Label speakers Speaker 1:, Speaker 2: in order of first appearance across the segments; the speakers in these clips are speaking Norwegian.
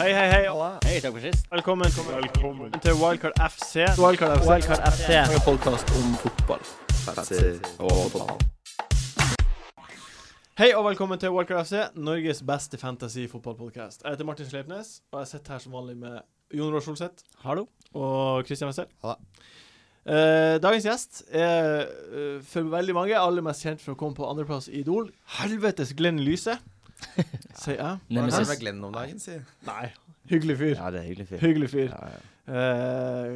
Speaker 1: Hei, hei, hei.
Speaker 2: Hei, takk for sist.
Speaker 1: Velkommen, til Wildcard FC.
Speaker 3: Wildcard FC.
Speaker 2: Wildcard FC.
Speaker 3: En podkast om fotball.
Speaker 2: eh,
Speaker 1: Hei og velkommen til Wildcard FC, Norges beste fantasy-fotballpodkast. Jeg heter Martin Sleipnes, og jeg sitter her som vanlig med Jon Roar Solseth
Speaker 2: Hallo.
Speaker 1: og Christian Wessel.
Speaker 4: Ha det.
Speaker 1: Eh, dagens gjest er eh, for veldig mange aller mest kjent for å komme på andreplass i Idol. Helvetes Glenn Lyse, sier jeg.
Speaker 4: Hvordan er det
Speaker 2: Nemesis.
Speaker 4: med Glenn om dagen, si?
Speaker 1: Nei. Hyggelig fyr.
Speaker 2: Ja, det er hyggelig fyr.
Speaker 1: Hyggelig fyr.
Speaker 2: Ja, ja.
Speaker 1: Eh,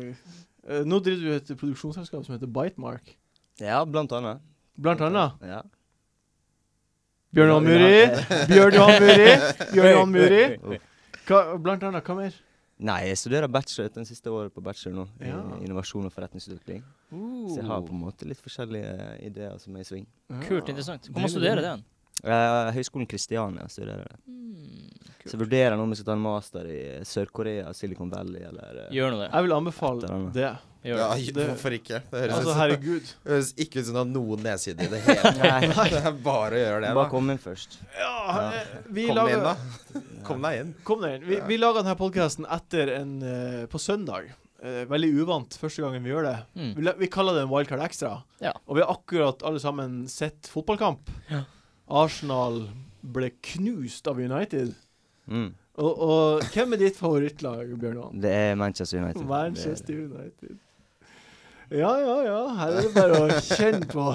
Speaker 1: eh, nå driver du et produksjonsselskap som heter Bitemark.
Speaker 2: ja, blant annet.
Speaker 1: Blant annet.
Speaker 2: Ja. eh,
Speaker 1: Bjørn Johan Muri. Bjørn Johan Muri. Bjørn Johan Muri. Hva, blant annet, hva mer?
Speaker 2: Nei, jeg studerer bachelor den siste året på bachelor nå. I
Speaker 1: Ja. Oh.
Speaker 2: Innovasjon og forretningsutvikling.
Speaker 1: Uh.
Speaker 2: Så jeg har på en måte litt forskjellige eh, ideer som er i sving.
Speaker 5: Kult, interessant. Hvor man studerer den?
Speaker 2: Eh, Høgskolen Kristiania studerer det. Så jeg vurderer nå om jeg skal ta en master i eh, Sør-Korea, Silicon Valley eller eh,
Speaker 5: Gjør nå det.
Speaker 1: Jeg vil anbefale det.
Speaker 5: Gjør
Speaker 4: Ja,
Speaker 5: det.
Speaker 4: j-
Speaker 1: Det-
Speaker 4: hvorfor ikke? Det høres,
Speaker 1: Altså,
Speaker 4: ut,
Speaker 1: herregud.
Speaker 4: det høres ikke ut som det har noen nedside i det hele
Speaker 2: Nei,
Speaker 4: tatt. Det er bare å gjøre det.
Speaker 2: bare
Speaker 4: da.
Speaker 2: kom inn først.
Speaker 1: Ja, eh, vi
Speaker 4: Kom inn, da.
Speaker 1: lager,
Speaker 4: Kom deg inn.
Speaker 1: kom deg inn. Vi, vi lager denne podkasten etter en eh, på søndag. Eh, veldig uvant første gangen vi gjør det.
Speaker 5: Mm.
Speaker 1: Vi, la- vi kaller det en wildcard extra.
Speaker 5: Ja.
Speaker 1: Og vi har akkurat alle sammen sett fotballkamp.
Speaker 5: Ja.
Speaker 1: Arsenal ble knust av United.
Speaker 2: Mm.
Speaker 1: Og, og hvem er ditt favorittlag, Bjørn Johan?
Speaker 2: Det er Manchester United.
Speaker 1: Manchester United. Ja, ja, ja. Her er det bare å kjenne på.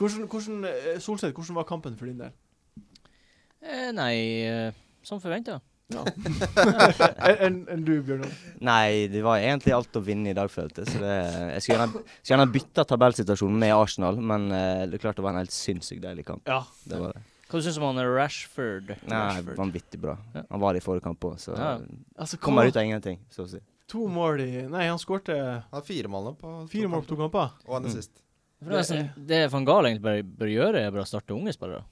Speaker 1: Hvordan, hvordan, eh, Solseth, hvordan var kampen for din del?
Speaker 5: Eh, nei, eh, som forventa.
Speaker 1: Enn enn du, Bjørnar?
Speaker 2: Nei, det var egentlig alt å vinne i dag, følte jeg. Så det, jeg skulle gjerne, skulle gjerne bytta tabellsituasjonen med Arsenal, men eh, det er klart det var en helt sinnssykt deilig kamp.
Speaker 1: Ja.
Speaker 2: Det var det.
Speaker 5: Hva syns du om han Rashford?
Speaker 2: Nei,
Speaker 5: Rashford.
Speaker 2: Vanvittig bra.
Speaker 5: Ja.
Speaker 2: Han var det i forrige kamp òg, så
Speaker 5: Ja.
Speaker 1: Altså,
Speaker 2: kom han
Speaker 1: hva,
Speaker 2: ut av ingenting, så å si.
Speaker 1: to mål i Nei, han skårte
Speaker 4: Han har fire mål nå på to
Speaker 1: fire mål Mm. på
Speaker 4: kamper.
Speaker 1: to kamper.
Speaker 4: Og han er sist.
Speaker 5: For det, er nesten- det Van Gaal egentlig bare bør gjøre, er bare å starte unge spillere.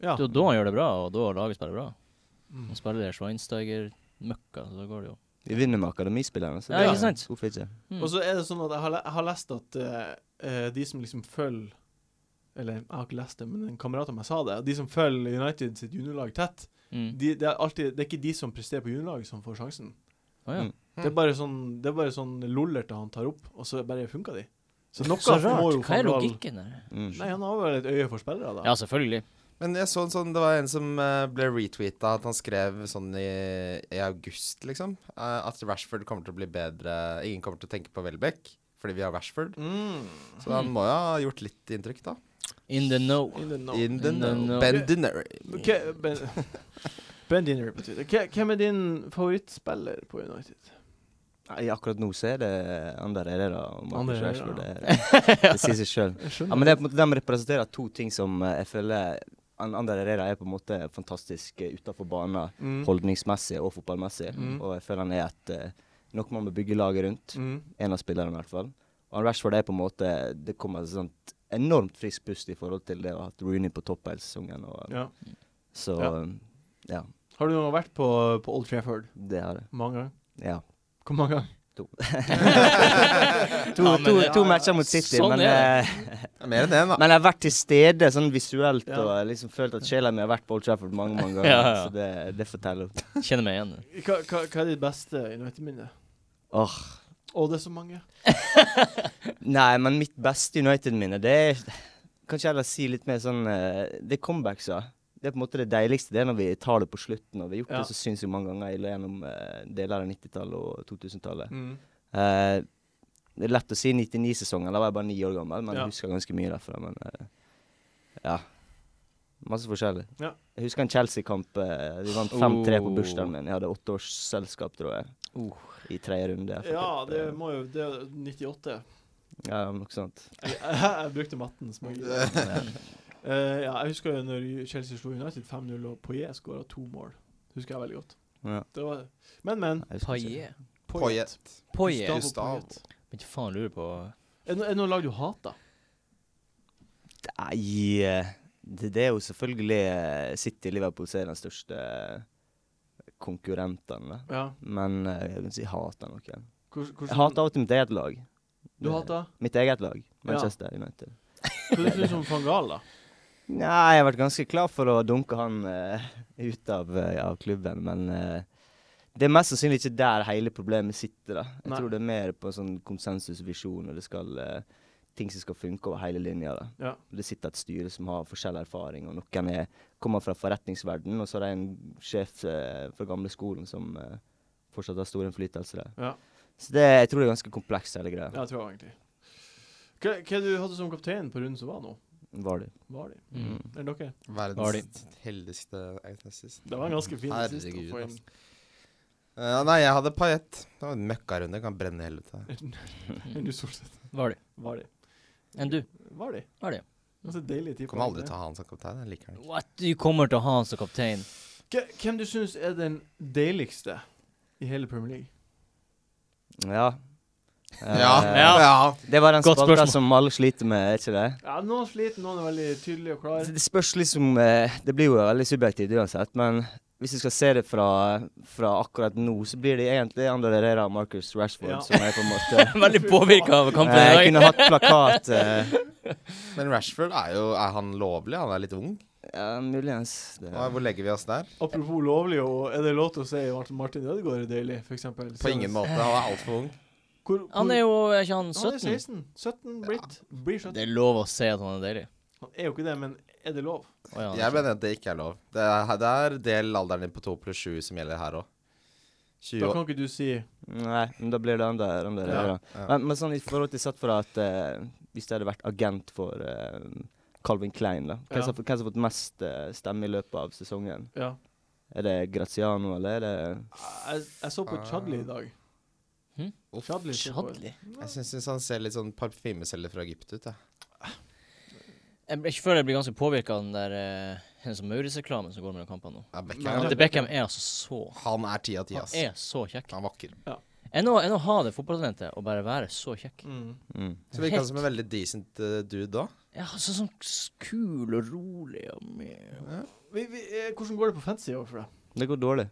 Speaker 1: Ja.
Speaker 5: Det er jo da han gjør det bra, og da laget spiller bra.
Speaker 1: Mm.
Speaker 5: Han spiller det Schweinsteiger-møkka, så da går det jo.
Speaker 2: Vi vinner med akademispillerne, så
Speaker 5: Ja,
Speaker 2: det-
Speaker 5: ikke sant?
Speaker 2: hvorfor ikke?
Speaker 5: Mm.
Speaker 1: Og så er det sånn at jeg har, le- jeg har lest at eh, eh, de som liksom følger Eller jeg har ikke lest det, men en kamerat av meg sa det. at De som følger United sitt juniorlag tett,
Speaker 5: mm.
Speaker 1: de, det, er alltid, det er ikke de som presterer på juniorlaget, som får sjansen.
Speaker 5: Å, ja.
Speaker 2: Mm.
Speaker 1: Det er bare sånn Det er bare sånn lollerter han tar opp, og så bare funka de. Så noe
Speaker 5: Så
Speaker 1: må
Speaker 5: rart.
Speaker 1: jo
Speaker 5: Hva er
Speaker 1: Van Gaal-
Speaker 5: logikken der?
Speaker 2: Mm.
Speaker 1: Nei, han har vel et øye for spillere, da.
Speaker 5: Ja, selvfølgelig.
Speaker 4: Men jeg så en sånn, det var en som eh, ble retweeta at han skrev sånn i, i august, liksom. eh, At Rashford kommer til å bli bedre Ingen kommer til å tenke på Welbeck fordi vi har Rashford.
Speaker 1: Mm.
Speaker 4: Så han må jo ha gjort litt inntrykk, da.
Speaker 5: In the know.
Speaker 1: In the know.
Speaker 4: In the
Speaker 5: In the know.
Speaker 4: Ben Dinner.
Speaker 1: Ok, ben, ben Dinner på Twitter. Hva- Hvem er din favorittspiller på United?
Speaker 2: Nei, akkurat nå så er det Ander Herrera og
Speaker 1: Ander
Speaker 2: Marcus
Speaker 1: Herrera.
Speaker 2: Rashford. Det, det sier seg sjøl.
Speaker 1: Jeg
Speaker 2: Ja, men det er på en måte, de representerer to ting som eh, jeg føler An- Ander Herrera er på en måte fantastisk utafor banen.
Speaker 1: Mm.
Speaker 2: holdningsmessig og fotballmessig.
Speaker 1: Mm.
Speaker 2: Og jeg føler han er et eh, noe man må bygge laget rundt.
Speaker 1: Mm.
Speaker 2: En av spillerne, i hvert fall. Og han Rashford er på en måte Det kommer et sånt enormt friskt pust i forhold til det å ha hatt Rooney på topp hele sesongen. Og,
Speaker 1: Ja.
Speaker 2: Så
Speaker 1: Ja.
Speaker 2: ja.
Speaker 1: Har du noen gang vært på, på Old Trafford?
Speaker 2: Det har jeg.
Speaker 1: Mange ganger?
Speaker 2: Ja.
Speaker 1: Hvor mange ganger?
Speaker 2: To,
Speaker 5: Ja, men
Speaker 2: to,
Speaker 5: det-
Speaker 2: to matcher mot City,
Speaker 5: Sånn
Speaker 2: men,
Speaker 5: er
Speaker 2: eh,
Speaker 4: Mer enn én, da.
Speaker 2: men jeg har vært til stede sånn visuelt
Speaker 1: Ja.
Speaker 2: og jeg liksom følt at sjela mi har vært på Old Trafford mange mange ganger.
Speaker 5: Ja, ja.
Speaker 2: Så det, det forteller.
Speaker 5: Kjenner meg igjen.
Speaker 1: Hva, hva, hva er ditt beste United-minne?
Speaker 2: Åh,
Speaker 1: Å, det er så mange.
Speaker 2: Nei, men mitt beste United-minne, det er Kanskje heller si litt mer sånn eh, Det er comebacksa. Det er på en måte det deiligste. Det er når vi tar det på slutten. Og vi har gjort
Speaker 1: Ja.
Speaker 2: det så sinnssykt mange ganger i- gjennom eh, deler av 90-tallet og 2000-tallet.
Speaker 1: Mm.
Speaker 2: Eh, det er lett å si 99-sesongen. Da var jeg bare ni år gammel, men
Speaker 1: Ja.
Speaker 2: jeg husker ganske mye derfra. Men eh, ja. Masse forskjellig.
Speaker 1: Ja.
Speaker 2: Jeg husker en Chelsea-kamp. eh, vi vant 5-3 på
Speaker 5: Oh.
Speaker 2: bursdagen min. Jeg hadde åtteårsselskap, tror jeg.
Speaker 5: Oh.
Speaker 2: I tredje runde. jeg
Speaker 1: Uh.
Speaker 2: fikk
Speaker 1: Ja,
Speaker 2: et,
Speaker 1: det
Speaker 2: eh,
Speaker 1: må jo Det er 98.
Speaker 2: ja, noe sånt.
Speaker 1: Jeg, jeg brukte matten som magi. Eh, ja, jeg husker jo når Chelsea slo United 5-0, og Poyet skåra to mål. Husker jeg veldig godt.
Speaker 2: Ja,
Speaker 1: Det var, men, men.
Speaker 2: jeg husker ikke.
Speaker 5: Paillet.
Speaker 4: Poyet.
Speaker 5: Poyet.
Speaker 4: Gustavo.
Speaker 1: Poyet.
Speaker 5: Men ikke faen lurer på
Speaker 1: Er det no- er det noe lag du hater?
Speaker 2: Nei, eh, det, det er jo selvfølgelig eh, City og Liverpool som er den største eh, konkurrentene.
Speaker 1: Ja.
Speaker 2: Men eh, jeg vil si jeg hater noen.
Speaker 1: Hvordan,
Speaker 2: Jeg hater alltid mitt eget lag.
Speaker 1: Du
Speaker 2: Det-
Speaker 1: hater?
Speaker 2: Mitt eget lag, Manchester United.
Speaker 1: Hva syns du om van Gaal, da?
Speaker 2: Nei, jeg har vært ganske klar for å dunke han eh, ut av, eh, av klubben, men eh, Det er mest sannsynlig ikke der hele problemet sitter. da. Jeg
Speaker 1: Nei.
Speaker 2: tror det er mer på sånn konsensusvisjon, og det skal eh, ting som skal funke over hele linja. da.
Speaker 1: Ja.
Speaker 2: Det sitter et styre som har forskjellig erfaring, og noen er, kommer fra forretningsverdenen, og så er det en sjef eh, fra gamle skolen som eh, fortsatt har stor innflytelse der.
Speaker 1: Ja.
Speaker 2: Så det, jeg tror det er ganske komplekst, hele greia.
Speaker 1: Ja, jeg tror jeg egentlig. Hva, hva du hadde som kaptein på runden som var nå?
Speaker 2: Var det.
Speaker 1: Var de?
Speaker 5: Mm.
Speaker 1: Eller dere?
Speaker 5: Var de.
Speaker 4: Verdens heldigste agnostisk.
Speaker 1: Det var en ganske fin sist å
Speaker 4: Herregud,
Speaker 1: få inn.
Speaker 4: ass. Eh, nei, jeg hadde paillett. Det var en møkkarunde. Kan brenne i helvete.
Speaker 1: Enn du Solseth.
Speaker 5: Var det.
Speaker 1: Var de?
Speaker 5: Enn du?
Speaker 1: Var de?
Speaker 5: Var det.
Speaker 1: Ganske deilig tid. på
Speaker 4: Kommer aldri
Speaker 1: runden.
Speaker 4: til å ha han som kaptein. Jeg liker han ikke.
Speaker 5: What? Du kommer til å ha han som kaptein.
Speaker 1: Hva- Hvem du syns er den deiligste i hele Premier League?
Speaker 2: Ja. Eh,
Speaker 5: Ja.
Speaker 2: Det var den
Speaker 5: Godt
Speaker 2: spalta
Speaker 5: spørsmål.
Speaker 2: som alle sliter med, er ikke det?
Speaker 1: Ja, Noen sliter, noen er veldig tydelige og klare.
Speaker 2: Det det spørs liksom eh, Det blir jo veldig subjektivt uansett, men hvis du skal se det fra, fra akkurat nå, så blir det egentlig Ander Herrera og Marcus Rashford
Speaker 1: Ja.
Speaker 2: som er på en måte
Speaker 5: Veldig påvirka av kampen
Speaker 2: eh,
Speaker 5: i dag.
Speaker 2: Kunne hatt plakat eh,
Speaker 4: Men Rashford er jo Er han lovlig? Han er litt ung.
Speaker 2: ja, Muligens. Det,
Speaker 4: Hva- Hvor legger vi oss der?
Speaker 1: Apropos lovlig, og er det lov til å si at Martin Ødegaard er deilig, f.eks.?
Speaker 4: På ingen måte. Han er altfor ung.
Speaker 1: Hvor, hvor,
Speaker 5: Han er jo er ikke han
Speaker 1: Han er
Speaker 5: 17?
Speaker 1: 16. 17 blitt. Blir 17.
Speaker 5: Det er lov å si at han er deilig.
Speaker 1: Han er jo ikke det, men er det lov?
Speaker 5: Å ja, han er
Speaker 4: Jeg mener at det ikke er lov. Det er, det er del alderen din på 2 pluss 7 som gjelder her òg.
Speaker 1: Da
Speaker 4: 20 år.
Speaker 1: kan ikke du si
Speaker 2: Nei, men da blir det Ander Ander
Speaker 1: Ja,
Speaker 2: Herrera.
Speaker 4: ja.
Speaker 2: Men, men sånn i forhold til satt for at eh, hvis det hadde vært agent for eh, Calvin Klein, da. Hvem
Speaker 1: Ja.
Speaker 2: som har fått- hvem som har fått mest eh, stemme i løpet av sesongen?
Speaker 1: Ja.
Speaker 2: Er det Graziano, eller er det
Speaker 1: Jeg, jeg så på Chadli i dag.
Speaker 5: Hm?
Speaker 1: Chadli. så på-
Speaker 5: Chadli.
Speaker 4: Jeg syns han ser litt sånn parfymeselger fra Egypt ut. Jeg.
Speaker 5: Jeg blir- jeg føler jeg blir ganske påvirka av den der eh, en sånn Maurits-reklamen som går mellom kampene nå.
Speaker 4: Ja,
Speaker 1: Nei,
Speaker 4: Beckham,
Speaker 5: At Beckham er altså så
Speaker 4: han er 10 av 10,
Speaker 5: Han
Speaker 4: ass.
Speaker 5: er så kjekk.
Speaker 4: Han er vakker.
Speaker 5: Enn å, enn å ha det fotballtalentet og bare være så kjekk.
Speaker 1: Mm.
Speaker 2: mm.
Speaker 4: Så virker han som en veldig decent eh, dude da.
Speaker 5: Ja, så sånn s- kul og rolig og med.
Speaker 1: Vi, vi, eh, hvordan går det på fantasy i år for deg?
Speaker 2: Det går dårlig.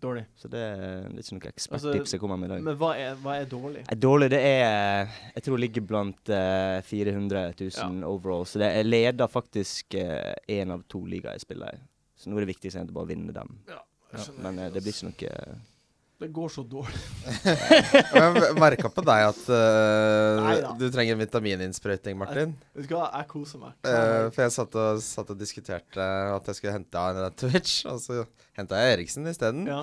Speaker 1: Dårlig.
Speaker 2: Så det, er- det er ikke noe
Speaker 1: Altså,
Speaker 2: eksperttips jeg kommer med i dag.
Speaker 1: Men hva er, hva er dårlig?
Speaker 2: Nei, dårlig, det er eh, Jeg tror ligger blant eh, 400 000 overall. Så det, jeg leder faktisk én av to ligaer jeg spiller i. Så nå er det viktigst egentlig bare å vinne dem.
Speaker 1: Jeg skjønner
Speaker 2: Men eh,
Speaker 1: ikke,
Speaker 2: det blir
Speaker 1: ass.
Speaker 2: ikke noe
Speaker 1: Det går så dårlig.
Speaker 4: Jeg merka på deg at eh,
Speaker 1: Neida.
Speaker 4: du trenger en vitamininnsprøytning, Martin.
Speaker 1: Vet du hva, jeg koser meg.
Speaker 4: Eh, for jeg satt og, satt og diskuterte at jeg skulle hente av en Twitch, og så henta jeg Eriksen isteden.
Speaker 1: Ja.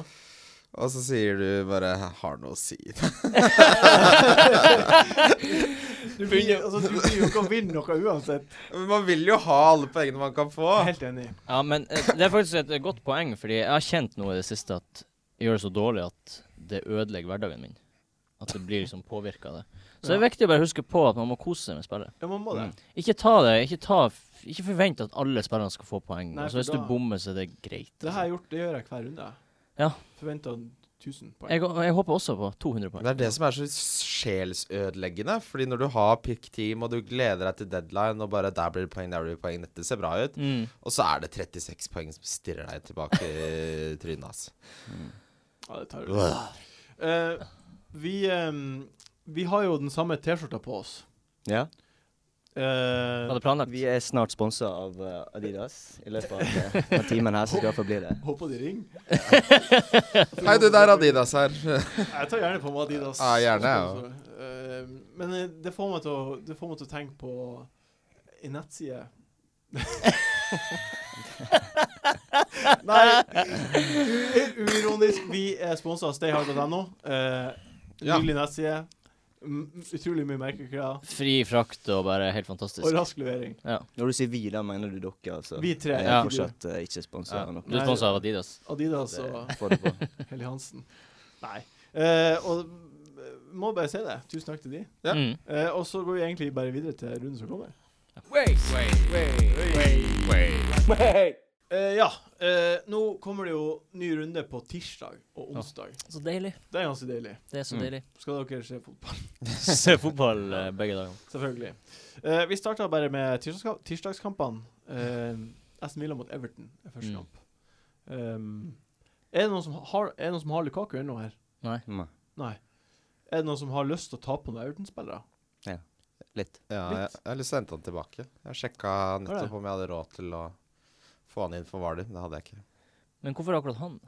Speaker 4: Og så sier du bare 'har noe å si'.
Speaker 1: Du blir, altså, du blir jo ikke å vinne noe uansett.
Speaker 4: Men man vil jo ha alle poengene man kan få.
Speaker 1: Jeg er helt enig.
Speaker 5: Ja, men eh, det er faktisk et eh, godt poeng, fordi jeg har kjent noe i det siste at jeg gjør det så dårlig at det ødelegger hverdagen min. At det blir liksom påvirka av det. Så det er viktig å bare huske på at man må kose seg med spillet.
Speaker 1: Ja, man må det.
Speaker 5: Ikke ta det, ikke, ta, f- ikke forvent at alle spillerne skal få poeng.
Speaker 1: Nei,
Speaker 5: Altså,
Speaker 1: for
Speaker 5: hvis du
Speaker 1: da-
Speaker 5: bommer, så er det greit. altså.
Speaker 1: Det har jeg gjort, det gjør jeg hver runde.
Speaker 5: Ja.
Speaker 1: Forventa 1000 poeng.
Speaker 5: Jeg, jeg håper også på 200 poeng.
Speaker 4: Det er det som er så sjelsødeleggende. Fordi når du har pick team, og du gleder deg til deadline, og bare 'der blir det poeng, der blir det poeng', dette ser bra ut,
Speaker 5: Mm.
Speaker 4: og så er det 36 poeng som stirrer deg tilbake i trynet, ass.
Speaker 1: Ja, det tar du. Eh, vi, ehm, vi har jo den samme T-skjorta på oss.
Speaker 2: Ja.
Speaker 1: Eh,
Speaker 5: Hadde planlagt.
Speaker 2: Vi er snart sponsa av eh, Adidas. I løpet av, eh, av timen her så skal iallfall bli det.
Speaker 1: håper de ringer.
Speaker 4: Hei, du, der er Adidas her.
Speaker 1: Jeg tar gjerne på meg Adidas.
Speaker 4: Ja, gjerne, ja.
Speaker 1: som sponsor. Eh, men eh, det får, meg til å, det får meg til å tenke på en nettside Nei, u- uironisk. Vi er sponsa av stayhard.no. Eh,
Speaker 4: Ja.
Speaker 1: Nylig nettside. M utrolig mye merkeklær.
Speaker 5: Fri frakt og bare helt fantastisk.
Speaker 1: Og rask levering.
Speaker 5: Ja.
Speaker 2: Når du sier vi, da mener du dere, altså?
Speaker 1: Vi tre.
Speaker 2: Jeg
Speaker 5: Ja.
Speaker 2: er fortsatt eh, ikke sponsa
Speaker 5: Ja.
Speaker 2: av noe.
Speaker 5: Du er sponset av Adidas.
Speaker 1: Adidas og
Speaker 2: Få det på.
Speaker 1: Helly Hansen. Nei. Eh, og eh, må bare si det. Tusen takk til de.
Speaker 4: Ja.
Speaker 5: Mm.
Speaker 1: Eh, og så går vi egentlig bare videre til runden som kommer. Eh, ja. Eh, nå kommer det jo ny runde på tirsdag og onsdag.
Speaker 5: Så deilig.
Speaker 1: Det er ganske deilig.
Speaker 5: Det er så
Speaker 2: Mm.
Speaker 5: deilig.
Speaker 1: Skal dere se fotball?
Speaker 5: Se fotball eh, begge dager.
Speaker 1: Selvfølgelig. Eh, vi starter bare med tirsdagska- tirsdagskampene. Eh, Aston Villa mot Everton er første
Speaker 5: Mm.
Speaker 1: kamp. Um, er, det noen som har, er det noen som har Lukaku ennå her?
Speaker 5: Nei.
Speaker 2: Mm.
Speaker 1: Nei. Er det noen som har lyst til å ta på noen Everton-spillere?
Speaker 2: Litt.
Speaker 4: Ja, jeg, jeg har lyst til å hente han tilbake. Jeg sjekka
Speaker 1: Har du?
Speaker 4: nettopp om jeg hadde råd til å få han inn for Hvaler. Det hadde jeg ikke.
Speaker 5: Men hvorfor akkurat han?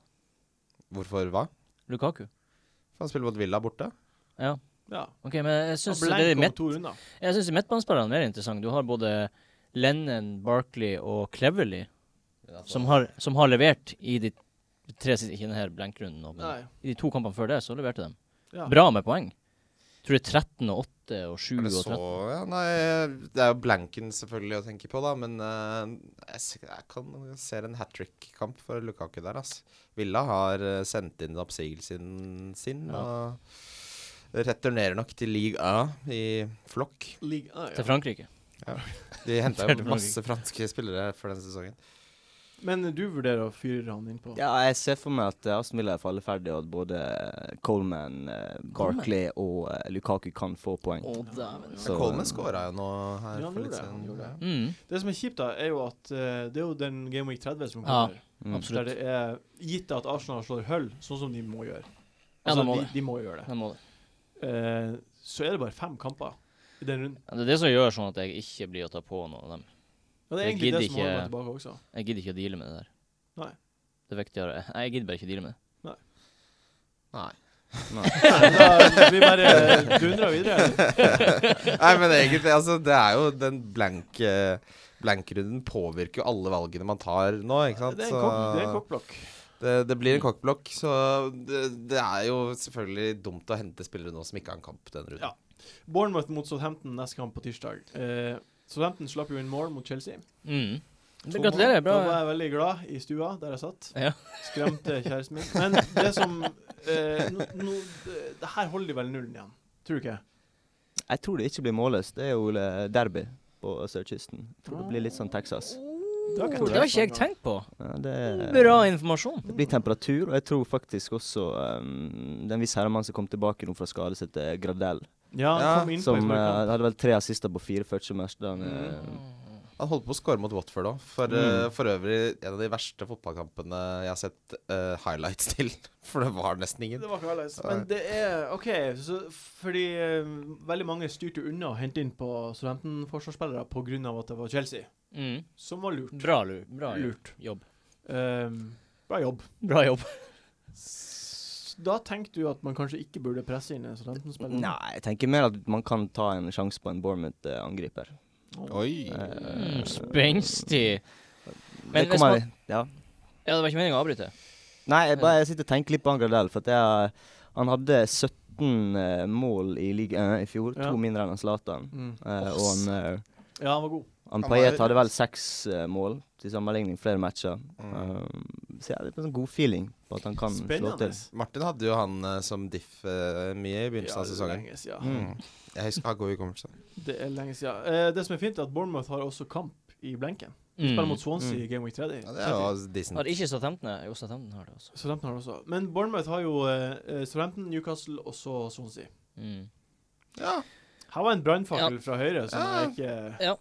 Speaker 4: Hvorfor hva?
Speaker 5: Lukaku.
Speaker 4: Han spiller mot Villa borte.
Speaker 5: Ja.
Speaker 1: Ja.
Speaker 5: OK, men jeg
Speaker 1: Og
Speaker 5: syns
Speaker 1: Blank om
Speaker 5: midt,
Speaker 1: to runder.
Speaker 5: jeg synes midtbanespillerne er mer interessant. Du har både Lennon, Barkley og Cleverly,
Speaker 1: Altså-
Speaker 5: som har, som har levert i de tre siste Ikke denne blenkrunden, nå, men
Speaker 1: Nei.
Speaker 5: i de to kampene før det, så leverte de.
Speaker 1: Ja.
Speaker 5: Bra med poeng. Tror det er 13 og 8 og 7
Speaker 4: Er det
Speaker 5: og
Speaker 4: så
Speaker 5: 13.
Speaker 4: ja, Nei, det er jo blanken selvfølgelig å tenke på, da. Men eh, jeg, ser- jeg kan jeg ser en hat trick-kamp for Lukaku der, ass. Villa har eh, sendt inn oppsigelsen sin. Og returnerer nok til league A i flokk.
Speaker 1: Liga, ah,
Speaker 5: Til
Speaker 1: ja.
Speaker 5: Frankrike.
Speaker 4: De henta
Speaker 5: Returnerer
Speaker 4: jo
Speaker 5: til
Speaker 4: masse franske spillere for den sesongen.
Speaker 1: Men du vurderer å fyre han inn på
Speaker 2: Ja, jeg ser for meg at eh, Aston Villa er falleferdig, og at både eh, Coleman, eh, Barkley og eh, Lukaku kan få poeng.
Speaker 4: Men
Speaker 2: Så,
Speaker 4: Coleman
Speaker 2: eh,
Speaker 4: skåra jo nå
Speaker 1: Ja, han
Speaker 4: her for
Speaker 1: gjorde
Speaker 4: litt
Speaker 1: det, han
Speaker 4: siden.
Speaker 1: gjorde det.
Speaker 5: Mm,
Speaker 1: Det som er kjipt, da, er jo at eh, det er jo den Game Week 30 som
Speaker 5: Ja,
Speaker 1: kommer.
Speaker 2: Mm.
Speaker 1: der
Speaker 5: absolutt.
Speaker 1: det er gitt at Arsenal slår hull, sånn som de må gjøre.
Speaker 5: Ja,
Speaker 1: Altså,
Speaker 5: de må
Speaker 1: de,
Speaker 5: det.
Speaker 1: de må gjøre det.
Speaker 5: Jeg må det.
Speaker 1: Eh, så er det bare fem kamper i den runden.
Speaker 5: Ja, det er det som gjør sånn at jeg ikke blir å ta på noen av dem.
Speaker 1: Og det er
Speaker 5: Jeg
Speaker 1: egentlig det
Speaker 5: gidder
Speaker 1: som holder meg
Speaker 5: ikke-
Speaker 1: tilbake også.
Speaker 5: Jeg gidder ikke å deale med det der.
Speaker 1: Nei.
Speaker 5: Det er viktigere. Nei, jeg gidder bare ikke å deale med det.
Speaker 4: Nei.
Speaker 1: Da, vi bare dundrer videre.
Speaker 4: Nei, men egentlig, altså, det er jo den blank... eh, Blankrunden påvirker jo alle valgene man tar nå. ikke sant?
Speaker 1: Det er en
Speaker 4: Så-
Speaker 1: kokk- det er en kokkblokk.
Speaker 4: Det, det blir en kokkblokk, så det, det er jo selvfølgelig dumt å hente spillere nå som ikke har en kamp denne runden.
Speaker 1: Ja. Bournemouth mot Southampton neste kamp på tirsdag. Eh, Southampton slapp jo inn mål mot Chelsea.
Speaker 5: Mm.
Speaker 1: To
Speaker 5: Men Gratulerer.
Speaker 1: mål.
Speaker 5: Bra.
Speaker 1: Da var jeg veldig glad i stua der jeg satt.
Speaker 5: Ja.
Speaker 1: Skremte kjæresten min. Men det som eh, nå- nå- det- Det her holder de vel nullen igjen, tror du ikke?
Speaker 2: Jeg tror det ikke blir målløst. Det er jo eh, derby på sørkysten. Jeg tror det blir litt sånn Texas.
Speaker 1: Det har ikke jeg
Speaker 5: Det har
Speaker 1: tenkt
Speaker 5: ikke jeg
Speaker 1: på engang.
Speaker 5: tenkt på.
Speaker 2: Ja, det er
Speaker 5: Bra informasjon.
Speaker 2: Det blir temperatur, og jeg tror faktisk også um, den visse herremann som kom tilbake nå fra skade, som heter eh, Gradell.
Speaker 1: Ja, han
Speaker 4: Ja,
Speaker 1: kom inn på
Speaker 2: Som
Speaker 1: en
Speaker 2: eh,
Speaker 1: sparkekamp.
Speaker 2: hadde vel tre assister på fire første match. da han, eh,
Speaker 4: Han holdt på å score mot Watford òg. For,
Speaker 1: Mm.
Speaker 4: eh, for øvrig en av de verste fotballkampene jeg har sett eh, highlights til. For det var nesten ingen.
Speaker 1: Det var ikke annerledes. Men det er OK, så, fordi eh, veldig mange styrte unna å hente inn på Southampton-forsvarsspillere pga. at det var Chelsea,
Speaker 5: Mm.
Speaker 1: som var lurt.
Speaker 5: Bra, lur. Bra
Speaker 1: Lurt.
Speaker 5: jobb.
Speaker 1: Ehm, bra jobb.
Speaker 5: Bra jobb.
Speaker 1: S- Da tenkte du at man kanskje ikke burde presse inn en Southampton-spiller?
Speaker 2: Nei, jeg tenker mer at man kan ta en sjanse på en eh, Bournemouth-angriper.
Speaker 4: Oi.
Speaker 5: Mm, Spenstig. Men
Speaker 2: det
Speaker 5: hvis
Speaker 2: Eh, kommer
Speaker 5: man
Speaker 2: vi- ja.
Speaker 5: Ja, det var ikke meningen å avbryte.
Speaker 2: Nei, jeg, bare, jeg sitter og tenker litt på han Gradell, for at jeg, han hadde 17 eh, mål i ligaen i fjor.
Speaker 1: Ja.
Speaker 2: To mindre enn Zlatan.
Speaker 1: Mm.
Speaker 2: Eh, og han, eh,
Speaker 1: Ja, han var god.
Speaker 2: han
Speaker 4: Han
Speaker 2: Payet
Speaker 4: var-
Speaker 2: hadde vel seks eh, mål til sammenligning, flere matcher.
Speaker 4: Mm.
Speaker 2: Um, så jeg har litt sånn god feeling på at han kan slå
Speaker 1: Spennende.
Speaker 2: til.
Speaker 4: Martin hadde jo han eh, som diff eh, mye i begynnelsen
Speaker 1: Ja,
Speaker 4: av
Speaker 1: det er
Speaker 4: sesongen.
Speaker 1: lenge siden.
Speaker 4: Mm. Jeg husker han god hukommelse.
Speaker 1: Det er lenge siden. Eh, det som er fint, er at Bournemouth har også kamp i blenken. De Spiller mot Swansea i Game Week 30.
Speaker 4: Mm. Ja, det er jo
Speaker 5: Har
Speaker 4: decent.
Speaker 5: ikke Southampton det? Jo, Southampton har det også.
Speaker 1: Southampton har det også. Men Bournemouth har jo eh, eh, Southampton, Newcastle og så Swansea.
Speaker 5: Mm.
Speaker 4: Ja.
Speaker 1: Her var en brannfakkel fra høyre som
Speaker 4: Ja.
Speaker 1: jeg ikke eh,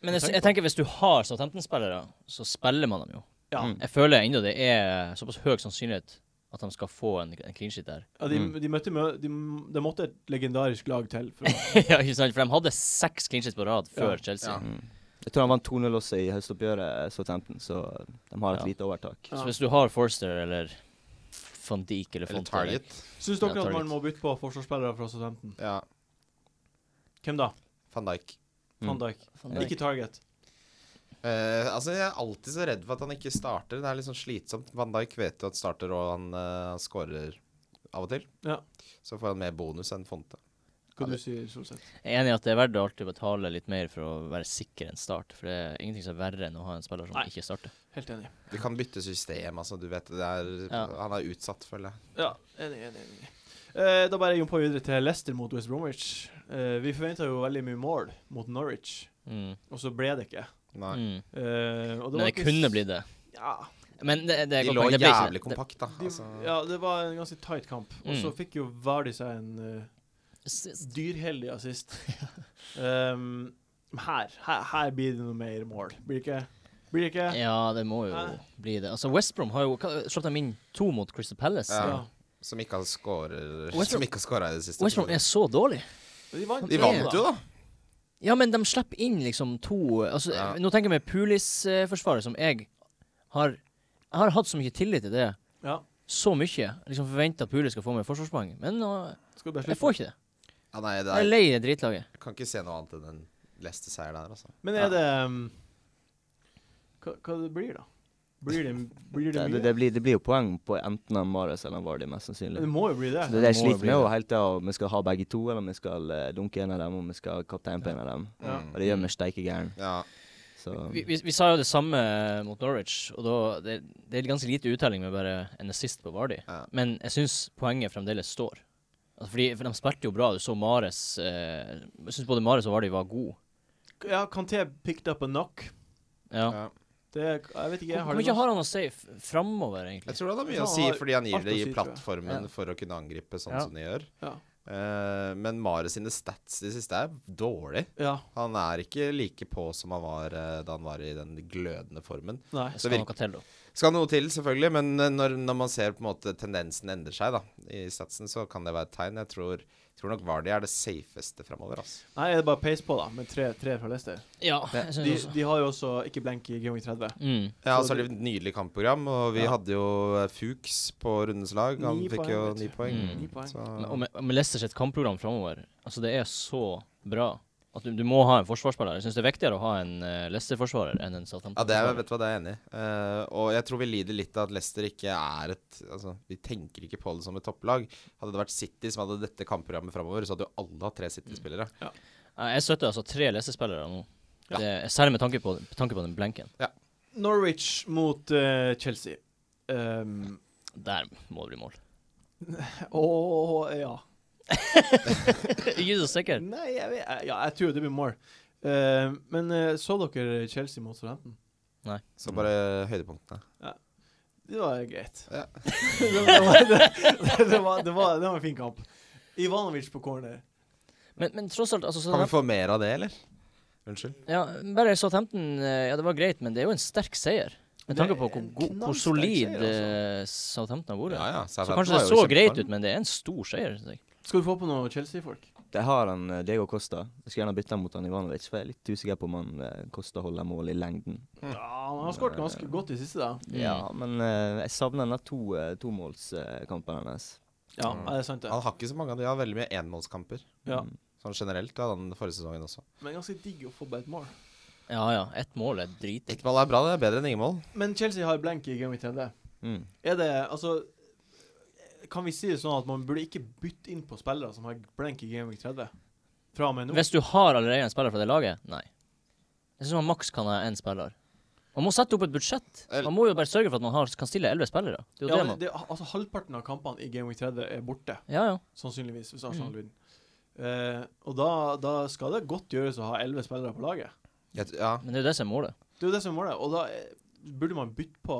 Speaker 5: Men jeg, jeg tenker hvis du har Southampton-spillere, så spiller man dem jo.
Speaker 1: Ja.
Speaker 2: Mm.
Speaker 5: Jeg føler ennå det er såpass høy sannsynlighet at de skal få en, en clean sheet der.
Speaker 1: ja de,
Speaker 2: Mm.
Speaker 1: de møtte mø de, de måtte et legendarisk lag til. For å,
Speaker 5: ja, ikke sant? For de hadde seks clean sheets på rad
Speaker 1: Ja.
Speaker 5: før Chelsea.
Speaker 4: Ja.
Speaker 2: Mm. Jeg tror han vant 2-0 også i høstoppgjøret, eh, Southampton, så de har et
Speaker 5: Ja.
Speaker 2: lite overtak.
Speaker 5: Så
Speaker 1: ja.
Speaker 5: hvis du har Forster eller Van Dijk eller
Speaker 4: Eller
Speaker 5: Fonte eller-
Speaker 4: Target.
Speaker 1: Syns
Speaker 5: Ja,
Speaker 1: dere
Speaker 5: tar
Speaker 1: at man
Speaker 5: litt.
Speaker 1: må bytte på forsvarsspillere fra Southampton?
Speaker 4: Ja.
Speaker 1: Hvem da?
Speaker 4: Van Dijk.
Speaker 1: Van
Speaker 2: Mm.
Speaker 1: Dijk.
Speaker 5: Van Dijk.
Speaker 1: Ikke Target.
Speaker 4: Eh, altså Jeg er alltid så redd for at han ikke starter. Det er litt sånn slitsomt. Van Dijk vet jo at starter, og han uh, scorer av og til.
Speaker 1: Ja.
Speaker 4: Så får han mer bonus enn Fonte.
Speaker 1: Hva du sier Solseth?
Speaker 5: Jeg er enig i at det er verdt å alltid betale litt mer for å være sikker enn start. For det er ingenting som er verre enn å ha en spiller som
Speaker 1: Nei.
Speaker 5: ikke starter.
Speaker 1: Helt enig.
Speaker 4: Du kan bytte system, altså. Du vet, det er,
Speaker 5: Ja.
Speaker 4: Han er utsatt, føler jeg.
Speaker 1: Ja, enig, enig. enig. Eh, da bare jumper vi videre til Leicester mot West Bromwich. Eh, vi forventa jo veldig mye mål mot Norwich,
Speaker 5: Mm.
Speaker 1: og så ble det ikke.
Speaker 4: Nei.
Speaker 5: Mm.
Speaker 1: Eh, og det var
Speaker 5: Men det
Speaker 1: ikke
Speaker 5: kunne
Speaker 1: s-
Speaker 5: blitt det.
Speaker 1: Ja,
Speaker 5: Men det, det er
Speaker 4: De
Speaker 5: godt
Speaker 4: lå
Speaker 5: poeng. Det ble ikke
Speaker 4: jævlig
Speaker 5: det.
Speaker 4: kompakt, da.
Speaker 1: de,
Speaker 4: Altså,
Speaker 1: ja, det var en ganske tight kamp. Og så
Speaker 5: Mm.
Speaker 1: fikk jo Vardy seg en eh,
Speaker 5: Det-
Speaker 1: dyrheldig assist. um, her, her, her blir det noe mer mål. Blir det ikke? Blir det ikke?
Speaker 5: Ja, det må jo
Speaker 1: Hæ?
Speaker 5: bli det. Altså, West Brom har jo hva- slapp dem inn to mot Crystal Palace.
Speaker 4: Ja.
Speaker 1: Ja.
Speaker 4: Som ikke har scorer-
Speaker 5: West Brom-
Speaker 4: Som ikke har scora i det siste.
Speaker 5: West Brom er så dårlig.
Speaker 1: De vant,
Speaker 4: De
Speaker 5: sånn-
Speaker 4: vant jo, da.
Speaker 5: Ja, men de slipper inn liksom to altså,
Speaker 4: Ja.
Speaker 5: Nå tenker jeg med Pulis-forsvaret, som jeg har Jeg har hatt så mye tillit til det
Speaker 1: Ja.
Speaker 5: så mye. Liksom forventa at Pule skal få med forsvarspoeng, men nå,
Speaker 1: Skal du bare
Speaker 5: jeg
Speaker 1: slutte?
Speaker 5: får ikke det.
Speaker 4: Ja, nei, det
Speaker 5: Jeg er
Speaker 4: er,
Speaker 5: lei det dritlaget.
Speaker 4: jeg kan ikke se noe annet enn en Leicester-seier der, altså.
Speaker 1: Men er det um, hva, hva det blir da? Blir det, blir det
Speaker 2: Det,
Speaker 1: mye?
Speaker 2: det, det, blir, det blir jo poeng på enten han Marius eller han Vardy, mest sannsynlig.
Speaker 1: det må jo bli det.
Speaker 2: Så det er det
Speaker 5: Det
Speaker 2: jeg
Speaker 5: må jo
Speaker 2: sliter
Speaker 5: bli
Speaker 2: med,
Speaker 5: det.
Speaker 2: og helt til om vi skal ha begge to, eller om vi skal eh, dunke en av dem, om vi skal ha kaptein på en av dem.
Speaker 1: Ja.
Speaker 4: Mm.
Speaker 2: Og det gjør meg steike gæren.
Speaker 4: Ja.
Speaker 2: Så
Speaker 5: Vi, vi, vi sa jo det samme eh, mot Norwich, og da det, det er ganske lite uttelling med bare en assist på Vardy.
Speaker 4: Ja.
Speaker 5: Men jeg syns poenget fremdeles står. Altså, fordi, for de spilte jo bra. Du så Mares eh, Jeg syns både Mares og Vardy var gode.
Speaker 1: Ja, Kanté picked up a knock.
Speaker 5: Ja.
Speaker 4: Ja.
Speaker 1: Det, jeg vet ikke.
Speaker 5: Hvor
Speaker 1: Har
Speaker 5: hvor
Speaker 1: det
Speaker 5: mye
Speaker 1: noe-
Speaker 5: har han å si f- framover,
Speaker 4: Jeg
Speaker 5: egentlig?
Speaker 4: tror han har mye
Speaker 1: Han
Speaker 4: å si
Speaker 1: har
Speaker 4: fordi han gir
Speaker 1: alt å
Speaker 4: det
Speaker 1: si,
Speaker 4: i
Speaker 1: tror jeg.
Speaker 4: plattformen
Speaker 5: Ja.
Speaker 4: for å kunne angripe sånn
Speaker 5: Ja.
Speaker 4: som de gjør.
Speaker 1: Ja.
Speaker 4: Eh, men Mare sine stats de siste er dårlig.
Speaker 1: ja.
Speaker 4: Han er ikke like på som han var eh, da han var i den glødende formen.
Speaker 1: Nei.
Speaker 5: Det
Speaker 4: så
Speaker 5: skal
Speaker 4: virker-
Speaker 5: noe til, da.
Speaker 4: Skal noe til, selvfølgelig, men eh, når, når man ser på en måte tendensen endrer seg da, i statsen, så kan det være et tegn. Jeg tror, tror nok Vardy er det safeste framover. Altså.
Speaker 1: Nei, er det bare peis på, da, med tre, tre fra Leicester?
Speaker 5: Ja, jeg
Speaker 1: De,
Speaker 5: synes også.
Speaker 1: de har jo også ikke blenk i Gaming 30.
Speaker 5: Mm.
Speaker 4: Ja, og
Speaker 1: Så
Speaker 4: så er det et nydelig kampprogram, og vi
Speaker 1: Ja.
Speaker 4: hadde jo eh, Fuchs på rundens lag. Han
Speaker 1: Ni
Speaker 4: fikk
Speaker 1: poeng,
Speaker 4: jo
Speaker 1: vet
Speaker 4: ni
Speaker 1: du.
Speaker 4: poeng.
Speaker 5: Mm.
Speaker 1: Ni poeng.
Speaker 4: Så,
Speaker 5: Men- Og med, med Leicester sitt kampprogram framover, altså det er så bra at du, du må ha en forsvarsspiller. Jeg syns det er viktigere å ha en eh, Leicester-forsvarer enn en Southampton.
Speaker 4: Ja, det er, vet du hva, det er jeg enig i. Eh, og jeg tror vi lider litt av at Leicester ikke er et Altså, vi tenker ikke på det som et topplag. Hadde det vært City som hadde dette kampprogrammet framover, så hadde jo alle hatt tre City-spillere.
Speaker 5: Jeg støtter altså tre Leicester-spillere nå.
Speaker 4: Ja.
Speaker 5: Det, særlig med tanke på, med tanke på den blenken.
Speaker 1: Norwich mot eh, Chelsea. Um,
Speaker 5: Der må det bli mål.
Speaker 1: og ja.
Speaker 5: Er Ikke så sikker.
Speaker 1: Nei, jeg, vet, ja, jeg tror det blir mål. Eh, men eh, så dere Chelsea mot Southampton?
Speaker 4: Så bare høydepunktene.
Speaker 1: Det var greit.
Speaker 4: Ja.
Speaker 1: det, var, det, det, var, det, var, det var en fin kamp. Ivanovic på corner.
Speaker 5: Men, men tross alt altså,
Speaker 4: Kan vi
Speaker 5: Southampton,
Speaker 4: få mer av det, eller? Unnskyld.
Speaker 5: ja, Bare Southampton eh, Ja, det var greit, men det er jo en sterk seier.
Speaker 1: Det
Speaker 5: Med
Speaker 1: er
Speaker 5: tanke på hvor,
Speaker 1: en
Speaker 5: god- hvor
Speaker 1: knallsterk
Speaker 5: solid
Speaker 1: seier, altså.
Speaker 5: eh, Southampton har vært.
Speaker 4: Ja, ja.
Speaker 5: Så kanskje det så greit ut, men det er en stor seier. synes jeg.
Speaker 1: Skal du få på noe Chelsea-folk?
Speaker 2: det har han eh, Diego Costa. Jeg skulle gjerne bytte han mot han Ivanovic, for jeg er litt usikker på om han eh, Costa holder mål i lengden.
Speaker 1: Ja, han har skåret ganske godt i siste, da.
Speaker 5: Mm.
Speaker 2: Ja, men eh, jeg savner denne to eh, tomålskampen hennes.
Speaker 1: Ja, det er sant, det.
Speaker 4: Han har ikke så mange av de, han har veldig mye enmålskamper.
Speaker 1: Ja.
Speaker 4: Sånn generelt hadde han forrige sesongen også.
Speaker 1: Men ganske digg å få bare et mål.
Speaker 5: Ja ja, ett mål er dritdigg.
Speaker 4: Ett mål er bra, det er bedre enn ingen mål.
Speaker 1: Men Chelsea har blank i Game 30.
Speaker 2: Mm.
Speaker 1: Er det Altså Kan vi si det sånn at man burde ikke bytte inn på spillere som har blank i Game 30? Fra og med nå?
Speaker 5: Hvis du har allerede en spiller fra det laget, nei. Jeg syns man maks kan ha én spiller. Man må sette opp et budsjett.
Speaker 4: Eller-
Speaker 5: Man må jo bare sørge for at man har, kan stille elleve spillere. Det er jo
Speaker 1: Ja,
Speaker 5: det man
Speaker 1: det, altså Halvparten av kampene i Game 30 er borte,
Speaker 5: Ja, ja.
Speaker 1: sannsynligvis, hvis Arsenal
Speaker 5: Mm.
Speaker 1: vinner. Eh, og da, da skal det godt gjøres å ha elleve spillere på laget.
Speaker 4: Jeg t- Ja.
Speaker 5: Men det er jo det som er målet.
Speaker 1: Det er jo det som er målet, og da eh, burde man bytte på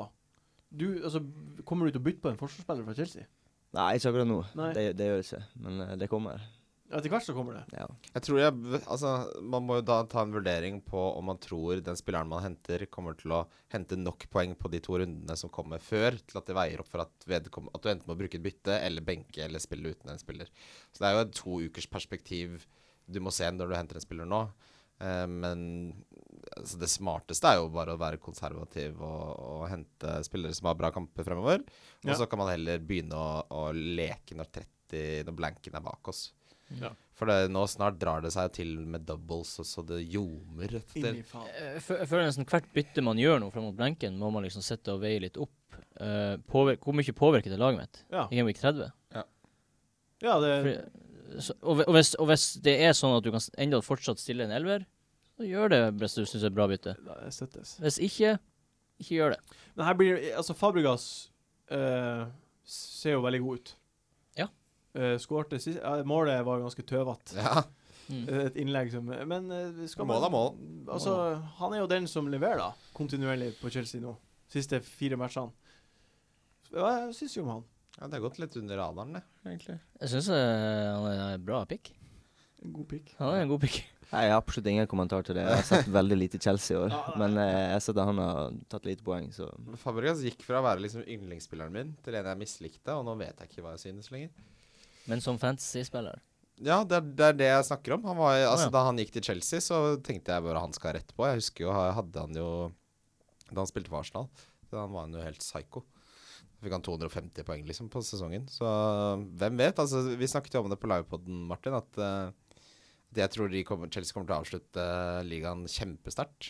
Speaker 1: du, altså, Kommer du til å bytte på en forsvarsspiller fra Chelsea?
Speaker 2: Nei, ikke akkurat nå.
Speaker 1: Nei.
Speaker 2: Det, det gjør jeg ikke. Men eh, det kommer.
Speaker 1: Etter hvert så kommer det.
Speaker 2: Ja.
Speaker 4: Jeg tror jeg Altså, man må jo da ta en vurdering på om man tror den spilleren man henter, kommer til å hente nok poeng på de to rundene som kommer før, til at det veier opp for at, vedkom, at du enten må bruke et bytte, eller benke, eller spille uten en spiller. Så det er jo et to ukers perspektiv du må se når du henter en spiller nå. Eh, men altså, det smarteste er jo bare å være konservativ og, og hente spillere som har bra kamper fremover. Og
Speaker 1: Ja.
Speaker 4: så kan man heller begynne å, å leke når 30, når blanken er bak oss.
Speaker 1: Ja.
Speaker 4: For det, nå snart drar det seg til med doubles, og så det ljomer etter.
Speaker 1: Inn i faen.
Speaker 5: Jeg Eh, fø- jeg føler nesten hvert bytte man gjør nå fram mot blenken, må man liksom sitte og veie litt opp. Eh, påvirk, hvor mye påvirker det laget mitt
Speaker 1: Ja. Eh.
Speaker 5: i Gameweek 30?
Speaker 1: ja, det
Speaker 5: Fordi, så, og, hvi- og, hvis, og hvis det er sånn at du kan s- enda fortsatt stille en elver, så gjør det hvis du syns det er et bra bytte.
Speaker 1: det støttes.
Speaker 5: Hvis ikke, ikke gjør det.
Speaker 1: Men her blir Altså, Fabregas eh, ser jo veldig god ut.
Speaker 5: Ja.
Speaker 1: Eh, skårte sist ja, Målet var ganske tøvete.
Speaker 4: Ja.
Speaker 5: Mm.
Speaker 1: Eh, Et innlegg som Men eh, skal
Speaker 4: Mål er mål.
Speaker 1: Altså, han er jo den som leverer, da. Kontinuerlig på Chelsea nå. Siste fire matchene. Hva syns du om han?
Speaker 4: ja, det har gått litt under radaren, det, egentlig.
Speaker 5: Jeg syns han er en bra pick.
Speaker 1: En god pikk.
Speaker 5: Han er en god pick.
Speaker 2: Nei, Jeg har absolutt ingen kommentar til det. Jeg har sett veldig lite Chelsea i år.
Speaker 1: Ja, nei.
Speaker 2: Men eh, jeg har sett at han har tatt lite poeng, så
Speaker 4: Fabregas gikk fra å være liksom yndlingsspilleren min til en jeg mislikte, og nå vet jeg ikke hva jeg synes lenger.
Speaker 5: Men som fantasy-spiller
Speaker 4: Ja, det er, det er det jeg snakker om. Han var, altså,
Speaker 5: ja.
Speaker 4: Da han gikk til Chelsea, så tenkte jeg bare han skal rett på. Jeg husker jo, ha- hadde han jo Da han spilte for Arsenal, da han var han jo helt psycho. Fikk han 250 poeng liksom på sesongen. Så hvem vet? altså Vi snakket jo om det på livepoden, Martin, at eh, at jeg tror de kommer, Chelsea kommer til å avslutte eh, ligaen kjempesterkt.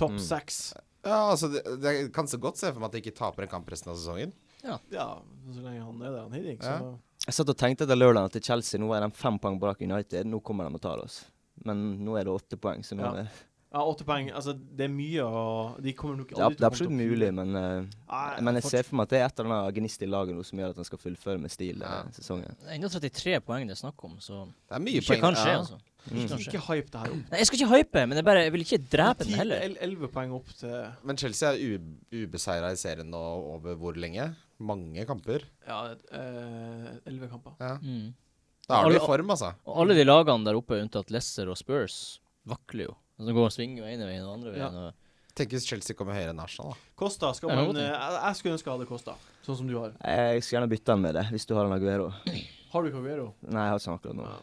Speaker 1: Topp
Speaker 5: Mm.
Speaker 1: seks.
Speaker 4: Ja, altså, det, det jeg kan så godt se for meg at de ikke taper en kamp resten av sesongen.
Speaker 1: Ja, så lenge han er der han Hiddink, så
Speaker 4: Ja.
Speaker 2: Jeg satt og tenkte etter lørdagen til Chelsea nå er de fem poeng bak United. Nå kommer de og tar oss. Men nå er det åtte poeng, så nå
Speaker 1: Ja.
Speaker 2: er
Speaker 1: ja, åtte poeng. Altså, det er mye å De kommer nok
Speaker 2: det,
Speaker 1: aldri
Speaker 2: det er
Speaker 1: til å
Speaker 2: absolutt
Speaker 1: komme topp
Speaker 2: mulig,
Speaker 1: fire.
Speaker 2: men, eh,
Speaker 1: Nei,
Speaker 2: men jeg
Speaker 1: fortsatt-
Speaker 2: ser for meg at det er et eller annet gnist i laget nå som gjør at han skal fullføre med stil
Speaker 4: Ja.
Speaker 2: denne sesongen.
Speaker 5: Det er ennå 33 poeng det er snakk om, så
Speaker 4: Det er mye
Speaker 5: Ikke
Speaker 4: poeng.
Speaker 5: kan skje,
Speaker 4: ja.
Speaker 5: altså.
Speaker 2: Mm.
Speaker 5: Ikke kan skje.
Speaker 1: Ikke hype det her opp.
Speaker 5: Nei, jeg skal ikke hype, men jeg, bare, jeg vil ikke drepe
Speaker 1: Ti-
Speaker 5: den heller.
Speaker 1: el- Elleve poeng opp til Ja,
Speaker 4: Men Chelsea er u- ubeseira i serien nå over hvor lenge? Mange kamper.
Speaker 1: eh, elleve kamper.
Speaker 4: Ja.
Speaker 5: Mm.
Speaker 4: Da er du
Speaker 5: Alle-
Speaker 4: i form, altså.
Speaker 5: Og alle de lagene der oppe, unntatt Leicester og Spurs, vakler jo. Altså, De går og svinger jo ene veien og andre
Speaker 1: Ja.
Speaker 5: veien. Og
Speaker 4: Tenk hvis Chelsea kommer høyere enn Arsenal, da.
Speaker 1: Kosta skal
Speaker 5: Ja,
Speaker 1: man
Speaker 5: godt.
Speaker 1: eh, Jeg jeg skulle ønske jeg hadde Kosta, sånn som du har.
Speaker 2: Jeg skulle gjerne bytte han med det, hvis du har en Aguero.
Speaker 1: Har du Caguero?
Speaker 2: Nei, jeg har ikke han akkurat nå.
Speaker 1: Ja.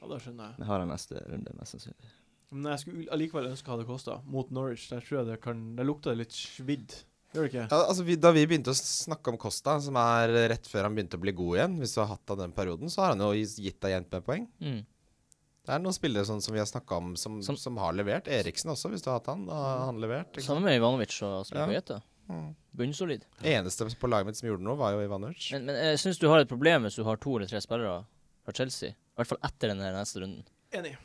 Speaker 1: ja, det skjønner jeg.
Speaker 2: Jeg har han neste runde, mest sannsynlig.
Speaker 1: Men jeg skulle allikevel ønske jeg hadde Kosta, mot Norwich. Der tror jeg det kan Der lukter det litt svidd. Gjør det ikke?
Speaker 4: Ja, altså, vi, da vi begynte å snakke om Costa, som er rett før han begynte å bli god igjen, hvis du har hatt av den perioden, så har han jo gitt deg jevnt med poeng.
Speaker 5: Mm.
Speaker 4: Det er noen spillere sånn som vi har snakka om, som,
Speaker 5: Som-
Speaker 4: som, har levert. Eriksen også, hvis du har hatt han. Da har han levert. ikke sant?
Speaker 5: Samme med Ivanovic og Spilkojeta.
Speaker 4: Mm.
Speaker 5: Bunnsolid.
Speaker 4: Eneste på laget mitt som gjorde noe, var jo Ivanovic.
Speaker 5: Men, men jeg syns du har et problem hvis du har to eller tre spillere fra Chelsea. I hvert fall etter den her neste runden.
Speaker 1: Enig.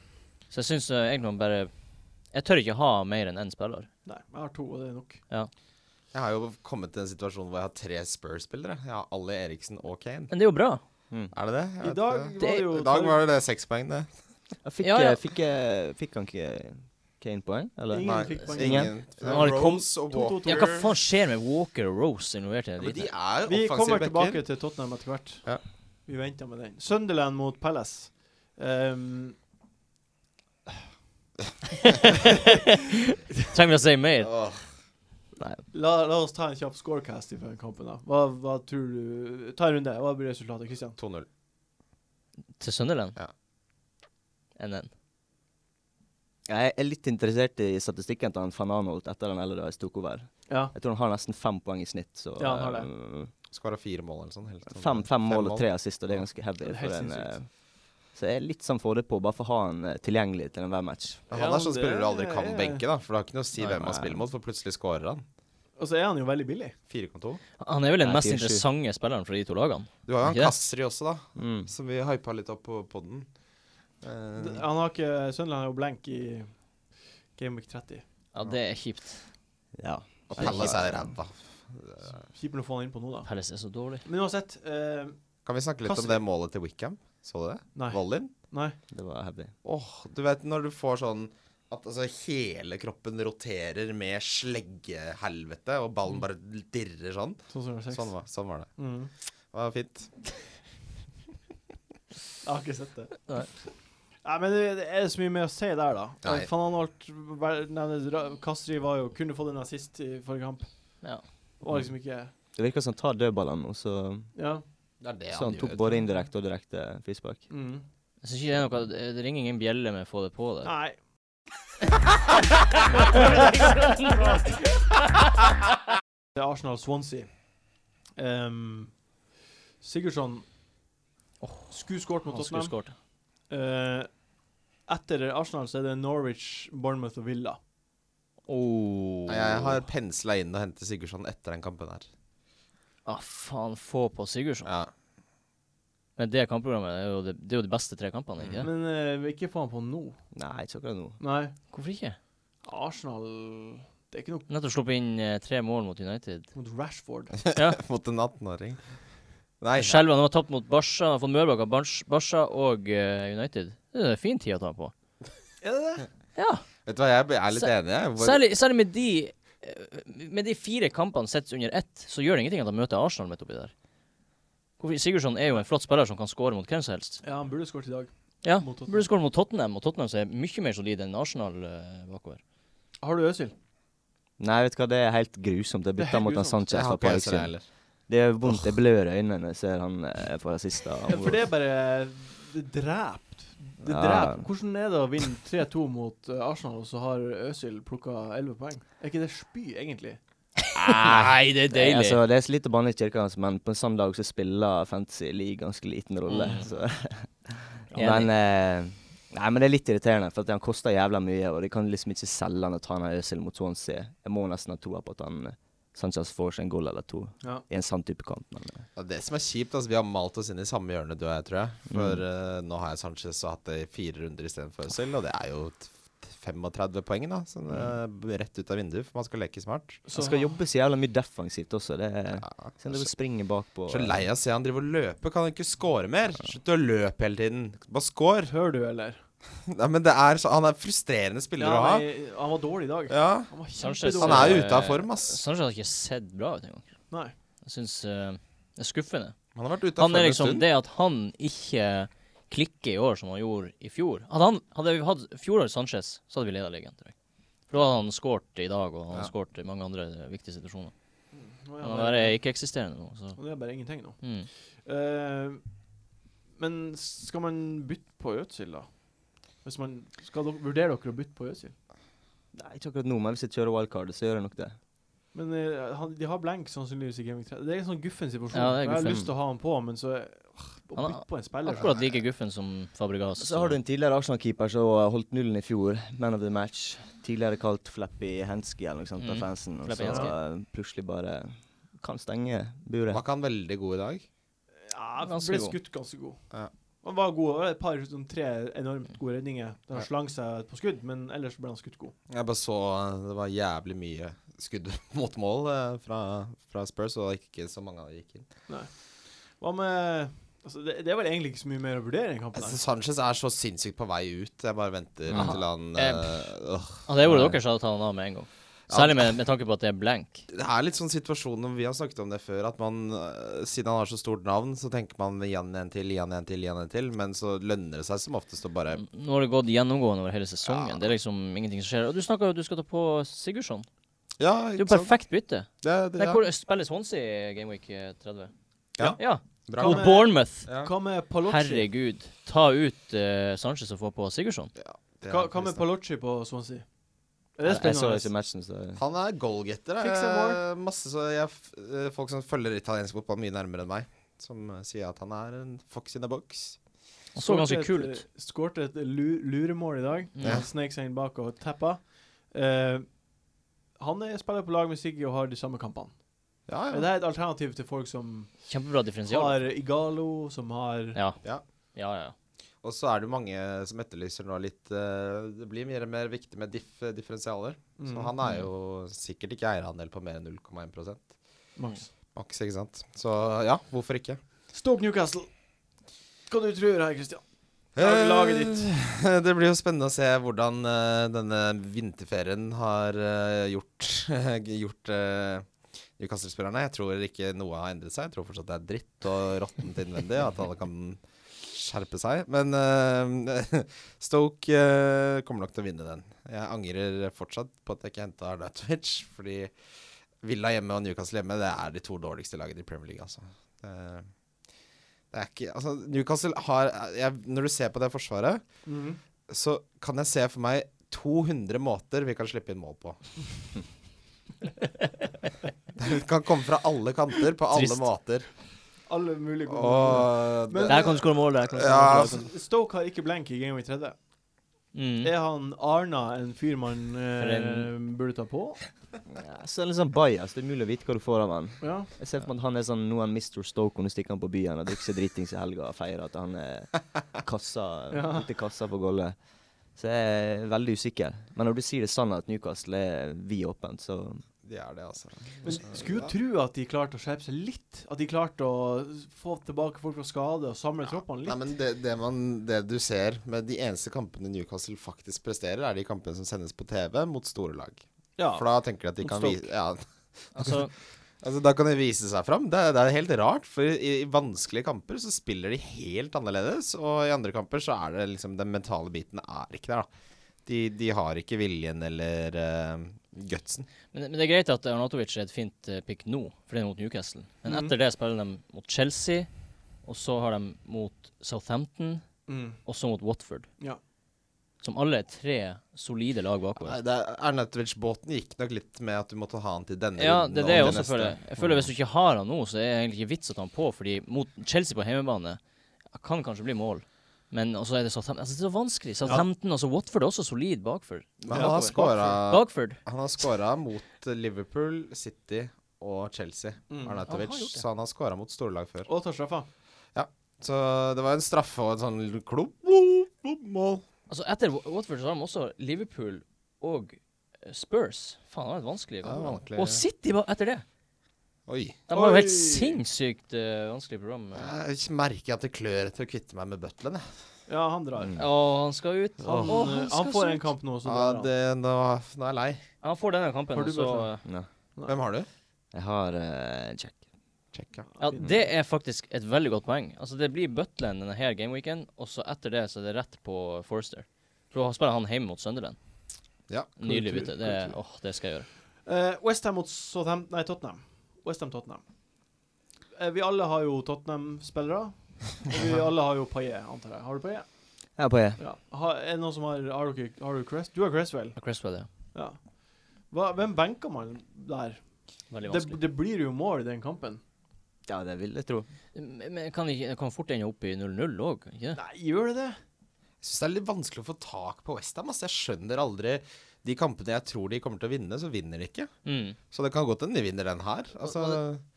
Speaker 5: Så jeg syns egentlig man bare Jeg tør ikke ha mer enn én spiller.
Speaker 1: Nei, jeg har to, og det er nok.
Speaker 4: Jeg har jo kommet til en situasjon hvor jeg har tre Spurs-spillere. Jeg har alle Eriksen og Kane.
Speaker 5: Men det er jo bra.
Speaker 4: Er det det? Jeg
Speaker 1: I
Speaker 4: vet
Speaker 1: dag
Speaker 4: ikke.
Speaker 1: var det jo
Speaker 4: I dag var det det seks poeng, det.
Speaker 2: Jeg Fikk,
Speaker 5: Ja, ja.
Speaker 2: eh, Fikk, eh, fikk han ikke Kane poeng, eller?
Speaker 1: Ingen fikk poeng.
Speaker 2: Ingen.
Speaker 4: Det
Speaker 5: Har
Speaker 4: var
Speaker 5: det
Speaker 4: Rose og
Speaker 1: To, to, to.
Speaker 5: Ja, hva faen skjer med Walker og Rose involvert i
Speaker 4: Ja,
Speaker 5: det?
Speaker 4: men de
Speaker 5: dritet?
Speaker 4: er
Speaker 1: Vi
Speaker 4: offensive
Speaker 1: kommer
Speaker 4: backer.
Speaker 1: tilbake til Tottenham etter hvert.
Speaker 4: Ja.
Speaker 1: Vi venter med den. Sunderland mot Palace. Ehm,
Speaker 5: Trenger vi å si mer?
Speaker 4: Åh,
Speaker 1: la, la oss ta en kjapp scorecast fra den kampen. da. Hva, hva tror du Ta en runde. Hva blir resultatet, Christian?
Speaker 4: 2-0.
Speaker 5: Til Sunderland?
Speaker 4: Ja.
Speaker 5: Enn den.
Speaker 2: Jeg er litt interessert i statistikken til han van Arnold etter han Elderdais tok over.
Speaker 1: Ja.
Speaker 2: Jeg tror han har nesten fem poeng i snitt. Så,
Speaker 1: Ja, han har
Speaker 2: eh,
Speaker 4: Skåra fire mål eller sånn. helt sånn.
Speaker 2: Fem, fem mål og tre assist, og det er ganske heavy.
Speaker 1: Det er helt
Speaker 2: for en,
Speaker 1: sinnssykt.
Speaker 2: eh, så jeg er litt sånn fordel på, bare for å ha han eh, tilgjengelig til enhver match.
Speaker 4: Men Han er
Speaker 1: Ja,
Speaker 4: sånn spiller du aldri
Speaker 1: det
Speaker 4: kan
Speaker 1: er-
Speaker 4: benke, da. For det har ikke noe å si
Speaker 2: Nei,
Speaker 4: hvem man
Speaker 2: nei.
Speaker 4: spiller mot, for plutselig scorer han.
Speaker 1: Og så er han jo veldig billig.
Speaker 4: 4,2.
Speaker 5: Han er vel den
Speaker 2: Nei,
Speaker 5: mest
Speaker 2: 4-7.
Speaker 5: interessante spilleren fra de to lagene.
Speaker 4: Du har jo han
Speaker 5: Ikke det?
Speaker 4: Kasri også, da. Som vi hypa litt opp på poden.
Speaker 1: D-
Speaker 4: Eh,
Speaker 1: Han har ikke Sunderland er jo blank i Game Week 30.
Speaker 5: Ja, det er kjipt.
Speaker 2: Ja.
Speaker 4: og Palace er ræva.
Speaker 1: Kjipt å få han inn på nå, da.
Speaker 5: Palace er så dårlig.
Speaker 1: Men uansett eh,
Speaker 4: Kan vi snakke litt
Speaker 1: Kasri.
Speaker 4: om det målet til Wickham? Så du det?
Speaker 1: Nei.
Speaker 4: Volleyen?
Speaker 1: Nei.
Speaker 2: Det var heavy.
Speaker 4: Åh, du vet når du får sånn at altså, hele kroppen roterer med sleggehelvete, og
Speaker 1: Mm.
Speaker 4: ballen bare dirrer sånn.
Speaker 1: Sånn som det var seks.
Speaker 4: Sånn var, sånn var det.
Speaker 1: Mm.
Speaker 4: Det var fint.
Speaker 1: Jeg har ikke sett det.
Speaker 5: Nei.
Speaker 1: Nei, men det det er så mye mer å si der, da. Eh,
Speaker 4: Nei.
Speaker 1: Fan Arnold vel- nevnes Ra- Kastri var jo kunne fått en assist i forrige kamp.
Speaker 5: Ja.
Speaker 1: Var liksom ikke
Speaker 2: Det virker som han tar dødballene, og så,
Speaker 1: Ja.
Speaker 4: Det er det
Speaker 2: så han tok både indirekte og direkte frispark.
Speaker 1: Mm.
Speaker 5: Jeg syns ikke det er noe Det det ringer ingen bjelle med å få det på der.
Speaker 1: Nei. Det er Arsenal-Swansea. Ehm, Sigurdsson skulle skåret mot
Speaker 5: Han skulle
Speaker 1: Tottenham.
Speaker 5: skåret.
Speaker 1: Eh, etter Arsenal så er det Norwich, Bournemouth og Villa.
Speaker 5: Oh.
Speaker 4: Jeg har pensla inn og hentet Sigurdsson etter den kampen her.
Speaker 5: Ah, faen, få på Sigurdsson.
Speaker 4: Ja.
Speaker 5: Men det kampprogrammet er jo det, det er jo de beste tre kampene, ikke det?
Speaker 1: Men eh, ikke få han på nå.
Speaker 2: Nei, ikke akkurat nå.
Speaker 1: Nei.
Speaker 5: Hvorfor ikke?
Speaker 1: Arsenal Det er ikke noe
Speaker 5: Nettopp sluppet inn eh, tre mål mot United.
Speaker 1: mot Rashford.
Speaker 5: Ja.
Speaker 4: Mot en 18-åring. Nei.
Speaker 5: Skjelvan har tapt mot Barca, har fått Mørbakk av Bars- Barca og eh, United. Det er en fin tid å ta på.
Speaker 1: Er det det?
Speaker 5: Ja.
Speaker 4: Vet du hva, jeg er litt
Speaker 5: Sær-
Speaker 4: enig, jeg. Hvor-
Speaker 5: Særlig, særlig med de eh, Med de fire kampene sett under ett, så gjør det ingenting at han møter Arsenal midt oppi der. Hvorfor- Sigurdsson er jo en flott spiller som kan skåre mot hvem som helst.
Speaker 1: Ja, han burde skåret i dag.
Speaker 5: Ja,
Speaker 1: Mot Tottenham.
Speaker 5: Burde skåre mot Tottenham, og Tottenham som er mye mer solid enn Arsenal eh, bakover.
Speaker 1: Har du Øzil?
Speaker 2: Nei, vet du hva, det er helt grusomt. Jeg
Speaker 1: Det er
Speaker 2: bytta
Speaker 1: helt
Speaker 2: mot han
Speaker 1: grusomt.
Speaker 2: Sanchez.
Speaker 4: Jeg har
Speaker 2: fra
Speaker 4: ikke
Speaker 2: Parksen.
Speaker 4: Øystein heller.
Speaker 2: Det gjør vondt. Jeg blør i øynene når jeg ser han eh, på rasista.
Speaker 1: For det er bare Det drept. Det
Speaker 2: Ja.
Speaker 1: drept. Hvordan er det å vinne 3-2 mot eh, Arsenal, og så har Øzil plukka 11 poeng? Er ikke det spy, egentlig?
Speaker 5: Nei, det er
Speaker 2: Det er,
Speaker 5: deilig.
Speaker 2: altså, det er så litt å banne i kirka, altså, men på en sånn dag så spiller Fantasy League ganske liten rolle.
Speaker 4: Mm.
Speaker 2: Så. men, eh, nei, men det er litt irriterende, for at han koster jævla mye, og de kan liksom ikke selge han og ta han av Øzil mot Swansea. Jeg må nesten ha troa på at han eh, Sanchez får seg en goal eller to
Speaker 1: Ja.
Speaker 2: i en sann type kamp. Men, eh,
Speaker 4: Ja, det som er kjipt, altså vi har malt oss inn i samme hjørne du og jeg, tror jeg. For eh, nå har jeg Sanchez og hatt det i fire runder istedenfor Øzil, og det er jo t- 35 poeng, da. Sånn, eh, rett ut av vinduet, for man skal leke smart.
Speaker 1: Så-
Speaker 2: han skal jobbe så jævla mye defensivt også. Det er,
Speaker 4: Ja, altså-
Speaker 2: Siden du springer bakpå.
Speaker 4: så lei av å se han drive og løpe. Kan han ikke score mer? Slutt å løpe hele tiden. Bare score.
Speaker 1: Hør du, eller?
Speaker 4: Nei, men det er så, han er frustrerende spiller å ha.
Speaker 1: nei, han var dårlig i dag.
Speaker 4: Ja.
Speaker 1: Han var
Speaker 5: Sanchez-
Speaker 1: kjempedårlig.
Speaker 4: Han er jo
Speaker 5: eh,
Speaker 4: ute av form, ass.
Speaker 5: Sanchez har ikke sett bra ut engang.
Speaker 1: Nei.
Speaker 5: Jeg syns eh, det er skuffende.
Speaker 4: Han har vært ute av
Speaker 5: Han
Speaker 4: form
Speaker 5: er
Speaker 4: en
Speaker 5: liksom
Speaker 4: stund.
Speaker 5: det at han ikke klikker i år som han gjorde i fjor. Hadde, han, hadde vi hatt fjorårets Sanchez, så hadde vi leda ligaen, tror jeg. For da hadde han skåret i dag, og han
Speaker 4: Ja.
Speaker 5: har skåret i mange andre viktige
Speaker 1: Nå
Speaker 5: situasjoner.
Speaker 1: er
Speaker 5: Men
Speaker 1: han
Speaker 5: han
Speaker 1: bare-
Speaker 5: er ikke-eksisterende nå, så
Speaker 1: Nå er det bare ingenting nå.
Speaker 5: mm.
Speaker 1: Eh, men skal man bytte på Ødsild, da? Hvis man skal dere, Vurderer dere å bytte på Ødsild?
Speaker 2: Nei, ikke akkurat nå, men hvis jeg kjører wildcardet, så gjør jeg nok det.
Speaker 1: Men eh, han, de har blank sannsynligvis i Gaming 3. Det er en sånn guffen situasjon.
Speaker 5: Ja, det er
Speaker 1: jeg har
Speaker 5: guffen.
Speaker 1: lyst til å ha han på, men så åh, Å
Speaker 5: Han-
Speaker 1: bytte på en spiller
Speaker 5: Akkurat like guffen som Fabregas.
Speaker 2: Så har du en tidligere Arsenal-keeper som holdt nullen i fjor, man of the match. Tidligere kalt Flappy Hensky eller noe sånt av
Speaker 5: Mm.
Speaker 2: fansen, og
Speaker 5: Flappy
Speaker 2: så
Speaker 5: Hensky.
Speaker 2: eh, plutselig bare kan stenge buret.
Speaker 4: Var ikke han veldig god i dag?
Speaker 1: Ja, han
Speaker 5: Ganske
Speaker 1: ble
Speaker 5: god.
Speaker 1: skutt ganske god.
Speaker 4: Ja.
Speaker 1: Han var god. Det var Et par, sånn, tre enormt gode redninger. Da han slang seg på skudd, men ellers ble han skutt god.
Speaker 4: Jeg bare så eh, det var jævlig mye skudd mot mål eh, fra, fra Spurs, og ikke så mange av dem gikk inn.
Speaker 1: Hva med altså, det, det er vel egentlig ikke så mye mer å vurdere i den kampen.
Speaker 4: Altså,
Speaker 1: her.
Speaker 4: Sanchez er så sinnssykt på vei ut. Jeg bare venter
Speaker 5: Ja.
Speaker 4: til han
Speaker 5: Eh,
Speaker 4: eh, åh.
Speaker 5: Hadde jeg vært Altså, dere, så hadde jeg tatt han av med en gang. Særlig med, med tanke på at det er blank.
Speaker 4: Det er litt sånn situasjonen vi har snakket om det før, at man eh, siden han har så stort navn, så tenker man igjen en til, igjen en til, igjen en til, men så lønner det seg som oftest å bare
Speaker 5: Nå har det gått gjennomgående over hele sesongen. Det er liksom ingenting som skjer. Og du snakka jo at du skal ta på Sigurdsson. Det
Speaker 4: Ja,
Speaker 5: er
Speaker 4: ikke
Speaker 5: jo
Speaker 4: sant?
Speaker 5: perfekt bytte.
Speaker 4: Det, det,
Speaker 5: Nei,
Speaker 4: ja.
Speaker 5: hvor spiller Swansea Gameweek 30?
Speaker 4: Ja.
Speaker 5: eh, ja.
Speaker 4: Bra. Eh,
Speaker 1: Kan-
Speaker 5: Mot Bournemouth.
Speaker 4: Ja.
Speaker 1: Hva med Palocci?
Speaker 5: Herregud. Ta ut eh, Sanchez og få på Sigurdsson.
Speaker 4: Det er
Speaker 1: Hva, hva med
Speaker 4: trist, da.
Speaker 1: Palocci på Swansea? Er det
Speaker 2: Jeg, jeg så
Speaker 1: spennende?
Speaker 2: ikke matchen, så
Speaker 4: Han er goalgetter.
Speaker 1: Fikk seg
Speaker 4: eh, Masse så jeg, f- eh, folk som følger italiensk fotball mye nærmere enn meg, som eh, sier at han er en fox in a box.
Speaker 5: Han så ganske
Speaker 1: Skårte
Speaker 5: kul
Speaker 1: et-
Speaker 5: ut.
Speaker 1: Skårte et lu- luremål i dag.
Speaker 5: Mm.
Speaker 1: Han Snek seg inn bak og teppa. Eh, han er spiller på lag med Siggy og har de samme kampene.
Speaker 4: Ja,
Speaker 1: Er
Speaker 4: ja.
Speaker 1: det et alternativ til folk som
Speaker 5: Kjempebra differensial.
Speaker 1: har Igalo, som har
Speaker 5: Ja.
Speaker 4: Ja.
Speaker 5: Ja, ja.
Speaker 4: Og så er det jo mange som etterlyser nå litt eh, Det blir mer og mer viktig med diff, eh, differensialer.
Speaker 1: Mm.
Speaker 4: Så han er jo sikkert ikke eierandel på mer enn 0,1
Speaker 1: Max.
Speaker 4: maks, ikke sant. Så ja, hvorfor ikke?
Speaker 1: Stoke Newcastle. Hva du tror her, Christian? Lag- laget ditt.
Speaker 4: Eh, Det blir jo spennende å se hvordan eh, denne vinterferien har eh, gjort, gjort eh, Newcastle-spillerne. Jeg tror ikke noe har endret seg. Jeg tror fortsatt det er dritt og råttent innvendig. At alle kan skjerpe seg. Men eh, Stoke eh, kommer nok til å vinne den. Jeg angrer fortsatt på at jeg ikke henta Arnautovic. Fordi Villa hjemme og Newcastle hjemme Det er de to dårligste lagene i Premier League. Altså. Det, det er ikke, altså Newcastle har jeg, Når du ser på det forsvaret
Speaker 1: Mhm.
Speaker 4: så kan jeg se for meg 200 måter vi kan slippe inn mål på. Det kan komme fra alle kanter, på alle
Speaker 5: Trist.
Speaker 4: måter.
Speaker 1: Alle mulige gode
Speaker 4: Og
Speaker 1: Men-
Speaker 5: Der kan du skåre mål. Der kan du skåre
Speaker 4: Ja. altså,
Speaker 5: mål. der kan du-
Speaker 1: Stoke har ikke blank i Game Week 30.
Speaker 5: Mm.
Speaker 1: Er han Arna en fyr man eh,
Speaker 5: For en-
Speaker 1: burde ta på?
Speaker 2: ja, Så er det litt sånn bias. Det er umulig å vite hva du får av han.
Speaker 1: Ja.
Speaker 2: Jeg ser for meg at han er sånn noen Mr. Stoke når du stikker han på byen og drikker seg dritings i helga og feirer at han er kassa,
Speaker 1: Ja.
Speaker 2: ute i kassa på Golle. Så jeg er veldig usikker. Men når du sier det sånn at Newcastle er vidåpent, så
Speaker 4: det er det, altså.
Speaker 1: Men skulle jo tro at de klarte å skjerpe seg litt. At de klarte å få tilbake folk fra skade og samle troppene
Speaker 4: Nei,
Speaker 1: litt.
Speaker 4: men det, det, man, det du ser med de eneste kampene Newcastle faktisk presterer, er de kampene som sendes på TV mot store lag.
Speaker 1: Ja.
Speaker 4: For da tenker de at de
Speaker 1: Mot
Speaker 4: kan
Speaker 1: Stoke.
Speaker 4: vise ja,
Speaker 5: Altså,
Speaker 4: altså, Da kan de vise seg fram. Det, er- det er helt rart, for i, i vanskelige kamper så spiller de helt annerledes. Og i andre kamper så er det liksom Den mentale biten er ikke der, da. De, de har ikke viljen eller uh, gutsen.
Speaker 5: men, men det er greit at Arnatovic er et fint eh, pick nå, for det er mot Newcastle. Men
Speaker 1: Mhm.
Speaker 5: etter det spiller de mot Chelsea, og så har de mot Southampton,
Speaker 1: Mm.
Speaker 5: og så mot Watford.
Speaker 1: Ja.
Speaker 5: som alle er tre solide lag bakover.
Speaker 4: Nei, det er- Arnautovic-båten gikk nok litt med at du måtte ha han til denne
Speaker 5: Ja,
Speaker 4: runden
Speaker 5: det er
Speaker 4: og
Speaker 5: det jeg
Speaker 4: til
Speaker 5: også
Speaker 4: neste.
Speaker 5: føler. Jeg føler Hvis du ikke har han nå, så er det egentlig ikke vits å ta han på, fordi mot Chelsea på hjemmebane kan kanskje bli mål. Men også er det Southampton altså, Det er så vanskelig. Southampton altså Watford er også solid bakfor.
Speaker 4: Men han har skåra
Speaker 5: Bakford.
Speaker 4: Han har scora mot Liverpool, City og Chelsea,
Speaker 1: Mm.
Speaker 5: Han
Speaker 4: Arnautovic.
Speaker 5: har gjort det.
Speaker 4: så han har scora mot storlag før.
Speaker 1: Og tar straffa.
Speaker 4: Så det var en straffe og en sånn klubb, klubb, klubb, mål.
Speaker 5: Altså, etter Wa- Watford så har de også Liverpool og eh, Spurs. Faen, det var et vanskelig.
Speaker 4: Ja,
Speaker 5: program.
Speaker 4: vanskelig.
Speaker 5: og City ba etter det.
Speaker 4: Oi.
Speaker 5: De har jo
Speaker 1: Oi.
Speaker 5: helt sinnssykt eh, vanskelig program.
Speaker 4: Jeg merker at det klør etter å kvitte meg med Butlen. jeg.
Speaker 1: Ja, han drar.
Speaker 2: Mm.
Speaker 5: Og han skal ut.
Speaker 1: Han,
Speaker 5: Å,
Speaker 1: eh,
Speaker 5: skal
Speaker 1: han får
Speaker 5: så
Speaker 1: en
Speaker 5: ut.
Speaker 1: kamp nå, så
Speaker 4: Ja,
Speaker 1: drar han.
Speaker 4: det, nå, nå er jeg lei.
Speaker 5: Han får denne kampen,
Speaker 1: Har du
Speaker 5: og så
Speaker 1: Butler?
Speaker 5: eh,
Speaker 2: Ja.
Speaker 4: Hvem har du?
Speaker 2: Jeg har eh, en check.
Speaker 4: Check, ja.
Speaker 5: Ja, det er faktisk et veldig godt poeng. Altså, det blir Butland denne her gameweeken, og så etter det så er det rett på Forster. For da spiller han hjemme mot Sunderland.
Speaker 4: Ja,
Speaker 5: Nydelig
Speaker 1: tur,
Speaker 5: bytte.
Speaker 1: kul
Speaker 5: Det,
Speaker 1: tur.
Speaker 5: åh, det skal jeg gjøre.
Speaker 1: Eh, West Ham mot Southampton Nei, Tottenham. West Ham Tottenham. Eh, vi alle har jo Tottenham-spillere. Og vi alle har jo Paillet, antar jeg. Har du Paillet?
Speaker 2: Jeg er på E.
Speaker 1: Ja. Har, er det noen som har Har dere har dere Crest? Du har Cresswell.
Speaker 5: Og Cresswell, ja.
Speaker 1: Ja. Hva, hvem benker man der?
Speaker 5: Veldig
Speaker 1: Det,
Speaker 5: vanskelig.
Speaker 1: det blir jo mål i den kampen.
Speaker 2: Ja, det vil jeg tro.
Speaker 5: Men men kan, ikke, kan fort ende opp i 0-0 òg, ikke det?
Speaker 1: Nei, gjør det det?
Speaker 4: Jeg syns det er litt vanskelig å få tak på Westham. Altså. Jeg skjønner aldri De kampene jeg tror de kommer til å vinne, så vinner de ikke.
Speaker 5: Mm.
Speaker 4: Så det kan godt hende de vinner den her. Altså,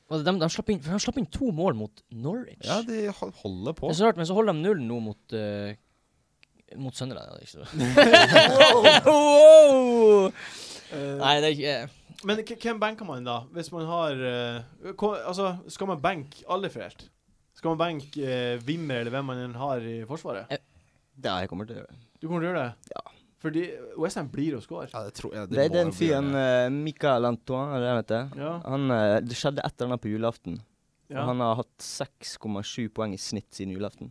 Speaker 5: Og de, de, slapp inn, for de slapp inn to mål mot Norwich.
Speaker 4: ja, de ho- holder på.
Speaker 5: Det er så rart, men så holder de nullen nå mot eh, Mot Sunderland. Ja, det er ikke så. wow!
Speaker 1: Eh,
Speaker 5: Nei, det er ikke eh,
Speaker 1: men k- hvem benker man da, hvis man har eh, ko- Altså, skal man benke Alifert? Skal man benke eh, Wimmer eller hvem man enn har i Forsvaret?
Speaker 2: Ja, jeg kommer til å gjøre det.
Speaker 1: Du kommer til å gjøre det? Ja. Fordi West Ham blir å score.
Speaker 4: Ja, det tror jeg
Speaker 2: Det er
Speaker 4: må
Speaker 2: den
Speaker 4: bli
Speaker 2: fyren
Speaker 4: det.
Speaker 2: uh, Michael Antoine, er det han heter.
Speaker 1: Ja.
Speaker 2: Han, eh, det skjedde et eller annet på julaften.
Speaker 1: ja.
Speaker 2: Og han har hatt 6,7 poeng i snitt siden julaften.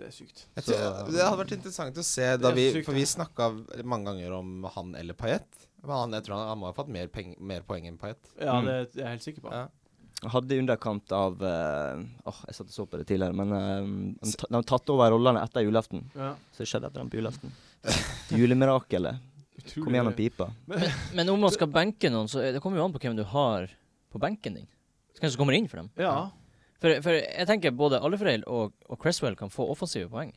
Speaker 1: Det er sykt.
Speaker 4: Jeg tror,
Speaker 2: Så-
Speaker 4: det hadde vært interessant å se, da
Speaker 1: Det er
Speaker 4: vi,
Speaker 1: sykt,
Speaker 4: for vi
Speaker 1: ja.
Speaker 4: snakka mange ganger om han eller Payet. Men han, jeg tror han, han må ha fått mer, peng, mer poeng enn Payet.
Speaker 1: Ja,
Speaker 2: Mm.
Speaker 1: det er jeg helt sikker på.
Speaker 4: Ja.
Speaker 2: Han hadde i underkant av eh, Åh, jeg satt og så på det tidligere, men eh, han ta- de har tatt over rollene etter julaften.
Speaker 1: Ja.
Speaker 2: Så det skjedde etter den på julaften. Julemirakelet.
Speaker 1: Utrolig
Speaker 2: Kom gjennom
Speaker 1: gøy.
Speaker 2: pipa.
Speaker 5: Men om man skal benke noen, så er- det kommer jo an på hvem du har på benken din. Hvem som kommer inn for dem.
Speaker 1: Ja.
Speaker 5: For, for jeg tenker både Alfreil og, og Cresswell kan få offensive poeng.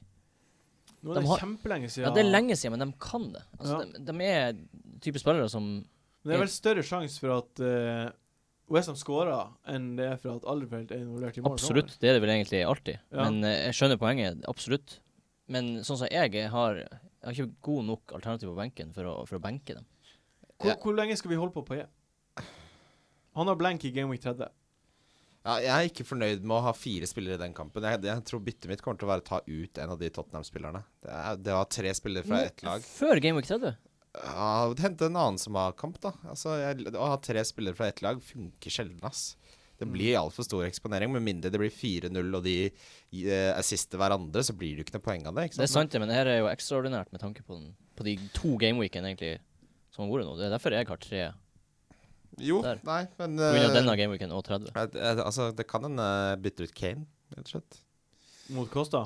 Speaker 1: Nå
Speaker 5: De
Speaker 1: er det
Speaker 5: har-
Speaker 1: kjempelenge siden.
Speaker 5: Ja, Det er lenge siden, men de kan det. Altså,
Speaker 1: Ja.
Speaker 5: de, de er type spillere som
Speaker 1: Men det er vel større sjanse for at uh, Westham scorer, enn det er for at Alifert er involvert i mål.
Speaker 5: Absolutt, det er det vel egentlig alltid.
Speaker 1: Ja.
Speaker 5: Men eh, jeg skjønner poenget, absolutt. Men sånn som jeg, jeg har jeg har ikke god nok alternativ på benken for å, for å benke dem.
Speaker 1: Hvor, hvor lenge skal vi holde på på E? Han har blank i Game Week 30.
Speaker 4: Ja, jeg er ikke fornøyd med å ha fire spillere i den kampen. Jeg, jeg tror byttet mitt kommer til å være å ta ut en av de Tottenham-spillerne. Det, er- det var tre spillere fra ett lag.
Speaker 5: Før Game Week 30.
Speaker 4: Ja, Hente en annen som har kamp, da. Altså, jeg, å ha tre spillere fra ett lag funker sjelden, ass. Det
Speaker 5: Mm.
Speaker 4: blir altfor stor eksponering. Med mindre det blir 4-0 og de eh, assister hverandre, så blir det jo ikke noe poeng av det. ikke
Speaker 5: Det er sant,
Speaker 4: sant?
Speaker 5: det, men det her er jo ekstraordinært med tanke på, den, på de to gameweekene egentlig som har vært nå. Det er derfor jeg har tre
Speaker 4: Jo,
Speaker 5: Der.
Speaker 4: nei, men
Speaker 5: på grunn av
Speaker 4: eh,
Speaker 5: denne gameweeken og 30.
Speaker 4: eh, eh, Altså, det kan en eh, bytte ut Kane, rett og slett.
Speaker 1: Mot Kosta.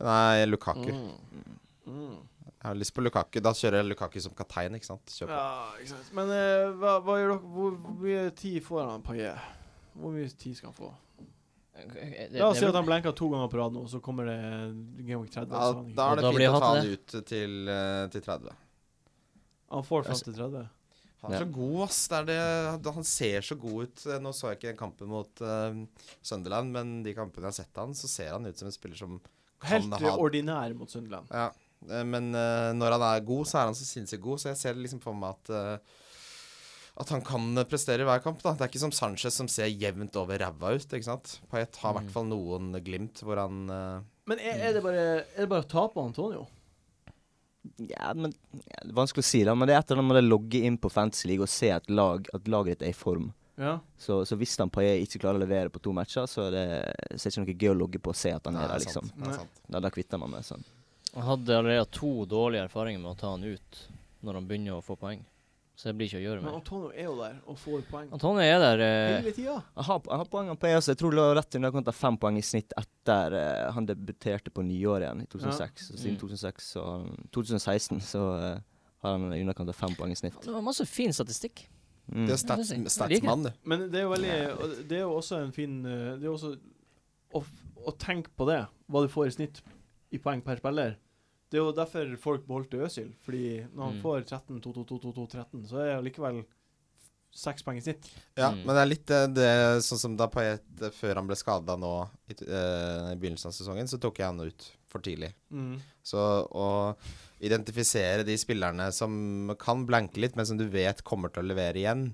Speaker 4: Nei, Lukaku.
Speaker 1: Mm.
Speaker 4: Jeg har lyst på Lukaku. Da kjører jeg Lukaku som kaptein, ikke sant. Kjør på.
Speaker 1: Ja, ikke sant. Men eh, hva, hva gjør dere? Hvor mye tid får han på E? Hvor mye tid skal han få? La oss si at han blenker to ganger på rad nå, så kommer det Game Sånn. Week 30.
Speaker 4: Ja,
Speaker 1: så han, ikke-
Speaker 4: da er sånn det
Speaker 5: Da blir
Speaker 4: fint å
Speaker 5: han
Speaker 4: ta
Speaker 5: til
Speaker 4: han ut til, eh, til 30.
Speaker 1: han får fram til 30.
Speaker 4: Han er så god, ass. Det er det, han ser så god ut. Eh, Nå så jeg ikke den kampen mot uh, Sunderland, men de kampene jeg har sett han, så ser han ut som en spiller som kan
Speaker 1: Helt
Speaker 4: ha
Speaker 1: ordinær mot Sunderland.
Speaker 4: ja. eh, Men eh, når han er god, så er han så sinnssykt god, så jeg ser liksom for meg at eh, at han kan eh, prestere i hver kamp. da Det er ikke som Sanchez som ser jevnt over ræva ut. ikke sant? Payet har i hvert fall noen glimt hvor han eh,
Speaker 1: Men er, er, det bare, er det bare å ta på Antonio?
Speaker 2: Ja, men ja, det er Vanskelig å si, da, men det er et eller annet med å logge inn på Fantasy League og se at, lag, at laget ditt er i form.
Speaker 1: Ja.
Speaker 2: Så, så hvis han Paillet ikke klarer å levere på to matcher, så er det, så er det ikke noe gøy å logge på og se at han
Speaker 4: Nei,
Speaker 2: er der,
Speaker 4: det er sant,
Speaker 2: liksom.
Speaker 4: det er
Speaker 1: Nei.
Speaker 4: sant.
Speaker 2: Da, da kvitter man med sånn.
Speaker 5: Han hadde allerede to dårlige erfaringer med å ta han ut når han begynner å få poeng. så jeg blir ikke å gjøre
Speaker 1: Men
Speaker 5: mer.
Speaker 1: Antonio er jo der og får poeng
Speaker 5: Antonio er der eh,
Speaker 1: hele tida.
Speaker 2: Jeg har, jeg har poengene på E også. Jeg tror det var rett under kan ta fem poeng i snitt etter eh, han debuterte på nyåret igjen i 2006. Så siden
Speaker 5: Mm.
Speaker 2: 2006 så, 2016 så eh, har han i underkant av fem poeng i snitt.
Speaker 5: Det var masse fin statistikk.
Speaker 2: Mm.
Speaker 4: Det er
Speaker 5: Jeg
Speaker 4: stats,
Speaker 5: liker det.
Speaker 4: statsmann, du.
Speaker 1: Men det er jo veldig og Det er jo også en fin eh, Det er jo også å, f- å tenke på det, hva du får i snitt i poeng per spiller. Det er jo derfor folk beholdt Øsil, fordi når han
Speaker 5: Mm.
Speaker 1: får 13, 2, 2, 2, 2, 2, 13, så er det allikevel seks poeng i snitt.
Speaker 4: Ja,
Speaker 5: Mm.
Speaker 4: men det er litt eh, det Sånn som da Payet eh, før han ble skada nå i, t- eh, i begynnelsen av sesongen, så tok jeg han ut for tidlig.
Speaker 1: Mm.
Speaker 4: Så å identifisere de spillerne som kan blanke litt, men som du vet kommer til å levere igjen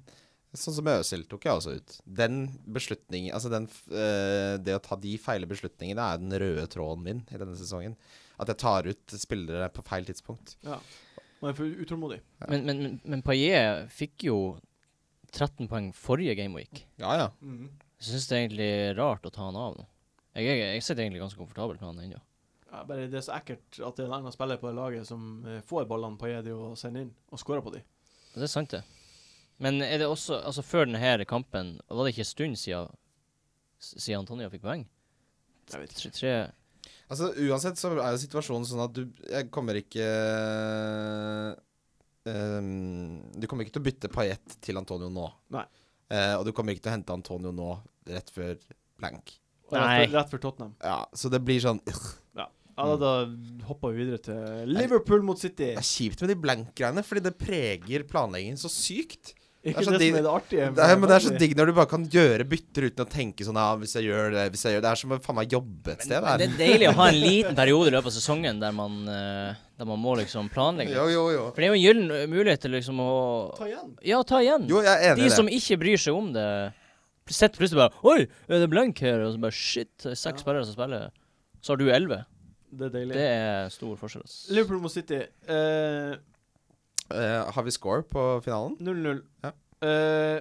Speaker 4: Sånn som Øsil tok jeg også ut. Den beslutningen Altså den, f- eh, det å ta de feile beslutningene er den røde tråden min i denne sesongen. At jeg tar ut spillere på feil tidspunkt.
Speaker 1: Ja. Man er for utålmodig.
Speaker 5: Men, men, men, men Paillet fikk jo 13 poeng forrige gameweek.
Speaker 4: Ja, ja.
Speaker 1: Mm.
Speaker 5: Jeg syns det er egentlig rart å ta han av nå. Jeg, jeg, jeg sitter egentlig ganske komfortabelt med han ennå.
Speaker 1: Ja, bare det er så ekkelt at det er en annen spiller på det laget som eh, får ballene på Jedi og sender inn, og skårer på de.
Speaker 5: Og Det er sant, det. Men er det også Altså, før denne kampen, var det ikke en stund siden, s- siden Antonio fikk poeng?
Speaker 1: Jeg vet ikke.
Speaker 5: Tre, tre
Speaker 4: Altså Uansett så er jo situasjonen sånn at du Jeg kommer ikke ehm, Du kommer ikke til å bytte Paillette til Antonio nå.
Speaker 1: Nei.
Speaker 4: Eh, og du kommer ikke til å hente Antonio nå, rett før blank.
Speaker 1: Og Rett,
Speaker 5: Nei.
Speaker 1: før- rett før Tottenham.
Speaker 4: Ja, Så det blir sånn øh,
Speaker 1: Ja, da, da hopper vi videre til Liverpool mot City.
Speaker 4: Det er kjipt med de blank-greiene, fordi det preger planleggingen så sykt.
Speaker 1: Ikke
Speaker 4: er så
Speaker 1: det,
Speaker 4: digg-
Speaker 1: som er det artige.
Speaker 4: Det er, men det er så digg når du bare kan gjøre bytter uten å tenke sånn ja, hvis jeg gjør det, hvis jeg gjør det Det er som å faen meg jobbe et sted.
Speaker 5: Det
Speaker 4: Det
Speaker 5: er deilig å ha en liten periode i løpet av sesongen der man, eh, der man må liksom
Speaker 4: er.
Speaker 5: planlegge.
Speaker 4: Jo, jo, jo.
Speaker 5: For det er jo en gyllen eh, mulighet til liksom å
Speaker 1: Ta igjen.
Speaker 5: Ja, ta igjen.
Speaker 4: Jo, jeg er enig
Speaker 5: De
Speaker 4: i det.
Speaker 5: som ikke bryr seg om det, sitter plutselig bare Oi, er det blank her? Og så bare Shit, det er
Speaker 1: Ja.
Speaker 5: seks spillere som spiller. Så har du elleve.
Speaker 1: Det er deilig.
Speaker 5: Det er stor forskjell. ass.
Speaker 1: Liverpool mot City. eh,
Speaker 4: Eh, har vi score på finalen?
Speaker 1: 0-0.
Speaker 4: Ja.
Speaker 1: Eh,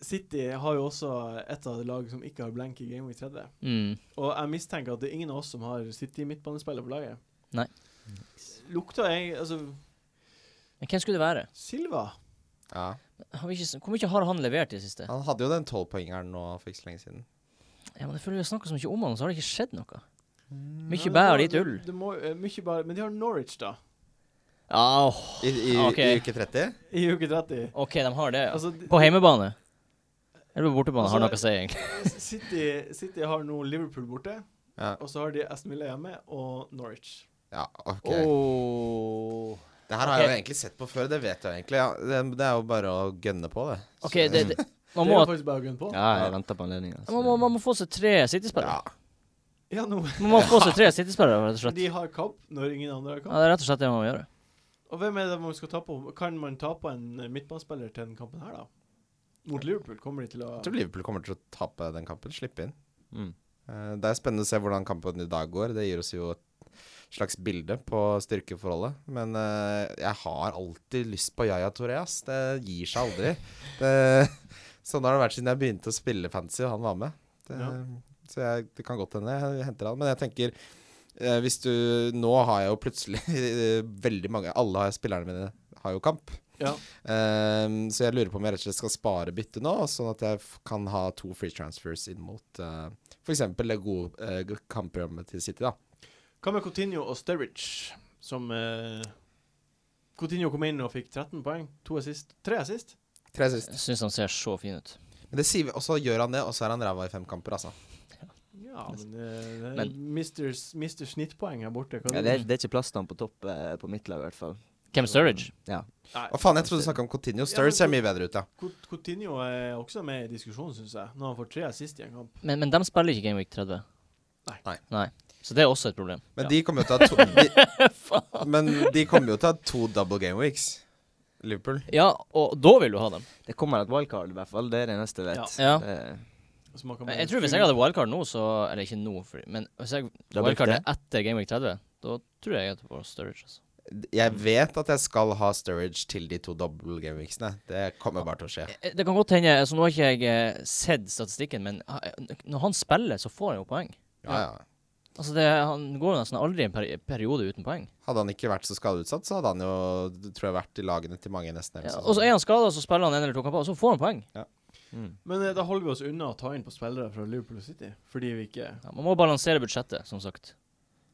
Speaker 1: City har jo også et av de lag som ikke har blank i Game Week 30.
Speaker 5: Mm.
Speaker 1: Og jeg mistenker at det er ingen av oss som har City midtbanespiller på laget.
Speaker 5: Nei.
Speaker 1: Lukta jeg Altså,
Speaker 5: Men hvem skulle det være?
Speaker 1: Silva
Speaker 4: Ja.
Speaker 5: Har vi ikke, s- hvor mye har han levert i det siste?
Speaker 4: Han hadde jo den tolvpoengeren nå for ikke så lenge siden.
Speaker 5: Ja, men jeg føler Vi har snakka så mye om han, så har det ikke skjedd noe.
Speaker 1: Mm, Ja, det
Speaker 5: Mye bær
Speaker 1: må-
Speaker 5: og litt
Speaker 1: det-
Speaker 5: ull.
Speaker 1: det må- eh, mye bær, men de har Norwich, da,
Speaker 5: Ja, åh.
Speaker 4: I, i,
Speaker 5: Ah, Ok.
Speaker 4: i uke 30?
Speaker 1: i uke 30.
Speaker 5: OK, de har det. ja.
Speaker 1: Altså, de-
Speaker 5: På heimebane. Eller på bortebane,
Speaker 1: Altså,
Speaker 5: har noe å si, egentlig.
Speaker 1: City, City har nå Liverpool borte,
Speaker 4: Ja.
Speaker 1: og så har de Aston Villa hjemme og Norwich.
Speaker 4: Ja, OK.
Speaker 5: Åh.
Speaker 4: Det her har
Speaker 5: Oh.
Speaker 4: jeg
Speaker 5: Ok.
Speaker 4: jo egentlig sett på før, det vet jeg egentlig. Ja, det, det er jo bare å gønne på, det.
Speaker 5: OK, det, det man,
Speaker 1: det
Speaker 5: må,
Speaker 1: er faktisk bare å gunne på.
Speaker 2: Ja, jeg venter på altså. anledninga.
Speaker 5: man, må, man må få seg tre sittespillere.
Speaker 4: Ja.
Speaker 1: Ja, nå
Speaker 5: Man må få seg tre sittespillere, rett og slett.
Speaker 1: De har kamp når ingen andre har
Speaker 5: Ja,
Speaker 1: kamp.
Speaker 5: det er rett og slett det man må gjøre.
Speaker 1: Og hvem er det man skal ta på? Kan man ta på en eh, midtbanespiller til den kampen her, da? Mot Liverpool kommer de til å
Speaker 4: Jeg tror Liverpool kommer til å tape den kampen. Slippe inn.
Speaker 2: Mm.
Speaker 4: Eh, Det er spennende å se hvordan kampen i dag går. Det gir oss jo et slags bilde på styrkeforholdet. Men eh, jeg har alltid lyst på Yaya Touré, ass. Det gir seg aldri. Det, sånn har det vært siden jeg begynte å spille fantasy og han var med. Det, Så jeg, det kan godt hende jeg henter han. Men jeg tenker eh, hvis du Nå har jeg jo plutselig veldig mange Alle har- spillerne mine har jo kamp.
Speaker 1: Ja.
Speaker 4: Ehm, så jeg lurer på om jeg rett og slett skal spare byttet nå, sånn at jeg f- kan ha to free transfers inn mot uh, f.eks. det gode eh, g- kampprogrammet til City, da.
Speaker 1: Hva med Coutinho og Sturridge, som eh, Coutinho kom inn og fikk 13 poeng. To assist. Tre assist.
Speaker 4: Tre sist.
Speaker 5: Jeg syns han ser så fin ut.
Speaker 4: Eh, Men det sier vi, og så gjør han det, og så er han ræva i fem kamper, altså.
Speaker 1: Ja, men, eh, det er
Speaker 5: Men-
Speaker 1: Mr. s- Mr. snittpoeng her borte. Hva
Speaker 2: Ja, det, er- det er ikke plass til han på topp eh, på mitt lag, i hvert fall.
Speaker 5: Cam Sturridge.
Speaker 2: Ja.
Speaker 4: Å faen, jeg trodde du snakka om Coutinho. Sturridge ser mye bedre ut, ja.
Speaker 1: Cout- Coutinho er også med i diskusjonen, syns jeg, når han får tre assist i en kamp.
Speaker 5: Men, men de spiller ikke Game Week 30.
Speaker 1: Nei.
Speaker 4: Nei.
Speaker 5: Så det er også et problem.
Speaker 4: Men de kommer jo til å ha to de, Men de kommer jo til å ha to double game weeks, Liverpool.
Speaker 5: Ja, og da vil du ha dem.
Speaker 2: Det kommer et wildcard, i hvert fall. Det er det eneste jeg vet. Eh,
Speaker 5: Ja.
Speaker 2: Det-
Speaker 1: Så man kan
Speaker 5: Men
Speaker 1: bare
Speaker 5: Jeg tror hvis jeg hadde wildcard nå, så Eller ikke nå, fordi, men hvis jeg
Speaker 2: Du har brukt
Speaker 5: wildcard
Speaker 2: det?
Speaker 5: etter Game Week 30, da tror jeg jeg hadde på Sturridge. Altså.
Speaker 4: Jeg vet at jeg skal ha Sturridge til de to double game weeksene. Det kommer bare til å skje.
Speaker 5: Eh, Det kan godt hende altså Nå har ikke jeg eh, sett statistikken, men eh, når han spiller, så får han jo poeng.
Speaker 4: Ja, ja.
Speaker 5: Altså det, han går jo nesten aldri en peri periode uten poeng.
Speaker 4: Hadde han ikke vært så skadeutsatt, så hadde han jo tror jeg, vært i lagene til mange nesten hele
Speaker 5: Ja,
Speaker 4: sesongen.
Speaker 5: og så er han skada, så spiller han en eller to kamper, og så får han poeng.
Speaker 1: Men eh, da holder vi oss unna å ta inn på spillere fra Liverpool City, fordi vi ikke
Speaker 5: Ja, man må balansere budsjettet, som sagt.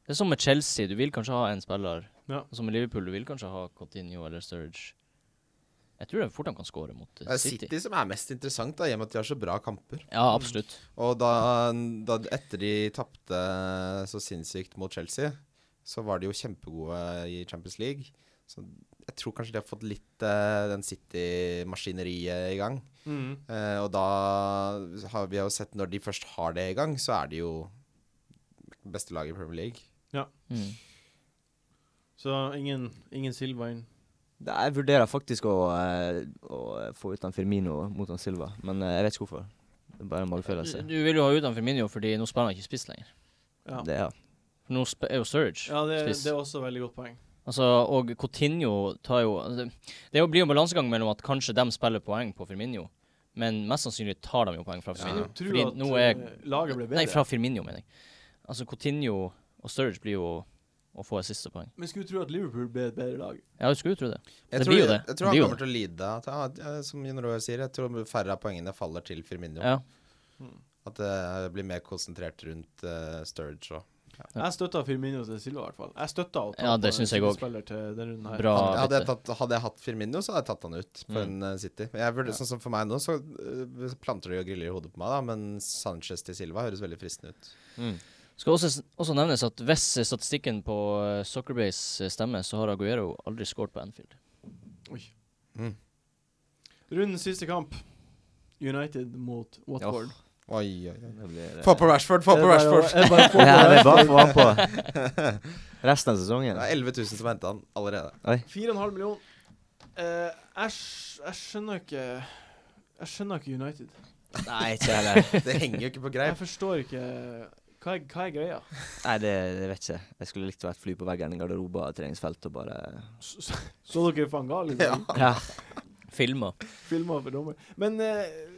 Speaker 5: Det er som med Chelsea, du vil kanskje ha en spiller.
Speaker 1: Ja.
Speaker 5: Og som med Liverpool, du vil kanskje ha Coutinho eller Sturridge. Jeg tror det er fort han kan score mot eh,
Speaker 4: Det er
Speaker 5: City.
Speaker 4: City som er mest interessant, da, i og med at de har så bra kamper.
Speaker 5: Ja, absolutt.
Speaker 4: Og da, da etter de tapte så sinnssykt mot Chelsea, så var de jo kjempegode i Champions League. Så jeg tror kanskje de har fått litt eh, den City-maskineriet i gang.
Speaker 1: mm.
Speaker 4: Eh, og da har vi jo sett når de først har det i gang, så er de jo beste laget i Premier League.
Speaker 5: Mm.
Speaker 1: Så ingen, ingen Silva inn.
Speaker 2: Nei, Jeg vurderer faktisk å, eh, å få ut han Firmino mot han Silva, men eh, jeg vet ikke hvorfor. Det er bare en magefølelse.
Speaker 5: Du vil jo ha ut han Firmino, fordi nå spiller han ikke spiss lenger.
Speaker 1: Ja,
Speaker 2: Det, ja.
Speaker 5: For nå sp er jo Sturridge
Speaker 1: ja det,
Speaker 5: spiss.
Speaker 1: det er også veldig godt poeng.
Speaker 5: Altså, og Coutinho tar jo altså, Det, det er jo- blir jo en balansegang mellom at kanskje de spiller poeng på Firmino, men mest sannsynlig tar de jo poeng fra Firmino.
Speaker 1: Jeg tror
Speaker 5: fordi
Speaker 1: at
Speaker 5: nå er
Speaker 1: eh, laget ble bedre.
Speaker 5: Nei, fra Firmino, mener jeg. Altså, Coutinho og Sturridge blir jo å få assist og poeng.
Speaker 1: Men skulle tro at Liverpool ble et bedre lag.
Speaker 5: Ja, du skulle jo tro det.
Speaker 4: Jeg
Speaker 5: Det
Speaker 4: tror,
Speaker 5: blir jo det.
Speaker 4: Jeg,
Speaker 5: Det
Speaker 4: tror han
Speaker 5: blir jo
Speaker 4: kommer til å lide. At, ja, ja, som Jon Roar sier, jeg tror færre av poengene faller til Firmino.
Speaker 5: Ja.
Speaker 4: At eh, det blir mer konsentrert rundt eh, Sturridge og
Speaker 5: Ja.
Speaker 1: Jeg støtta Firmino til Silva, i hvert fall. Jeg støtta å ta
Speaker 5: Ja, det
Speaker 1: på
Speaker 5: synes jeg
Speaker 1: en
Speaker 5: også.
Speaker 1: spiller til denne runden her.
Speaker 5: Bra
Speaker 4: Hadde- hadde, jeg
Speaker 5: bytte.
Speaker 4: tatt, hadde jeg hatt Firmino, så hadde jeg tatt han ut for
Speaker 5: Mm.
Speaker 4: en eh, City. Jeg burde, sånn som For meg nå så eh, planter de og griller i hodet på meg, da, men Sanchez til Silva høres veldig fristende ut.
Speaker 5: Skal også, også nevnes at hvis eh, statistikken på eh, Soccerbase eh, stemmer, så har Aguero aldri skåret på Anfield.
Speaker 4: Mm.
Speaker 1: Rundens siste kamp. United mot Watford.
Speaker 4: Oi, oi, oi.
Speaker 2: Det blir, eh,
Speaker 4: Få på Rashford, få på Rashford!
Speaker 1: Jeg bare får
Speaker 2: Ja,
Speaker 1: på Rashford.
Speaker 2: det er bare å få han på resten av sesongen.
Speaker 4: Det er 11 000 som henta han allerede.
Speaker 1: 4,5 million. Eh, jeg, sk- jeg skjønner ikke Jeg skjønner ikke United.
Speaker 2: Nei, ikke heller.
Speaker 4: Det henger jo ikke på
Speaker 1: Jeg
Speaker 4: greip.
Speaker 1: forstår ikke Hva er, hva er greia?
Speaker 2: Nei, det, det vet ikke. Jeg skulle likt å være et fly på veggen i garderober og treningsfelt og bare
Speaker 1: Så, så, så dere Fangal i
Speaker 4: Ja.
Speaker 1: dag?
Speaker 2: Ja.
Speaker 5: Filmer.
Speaker 1: Filma for dommer. Men eh,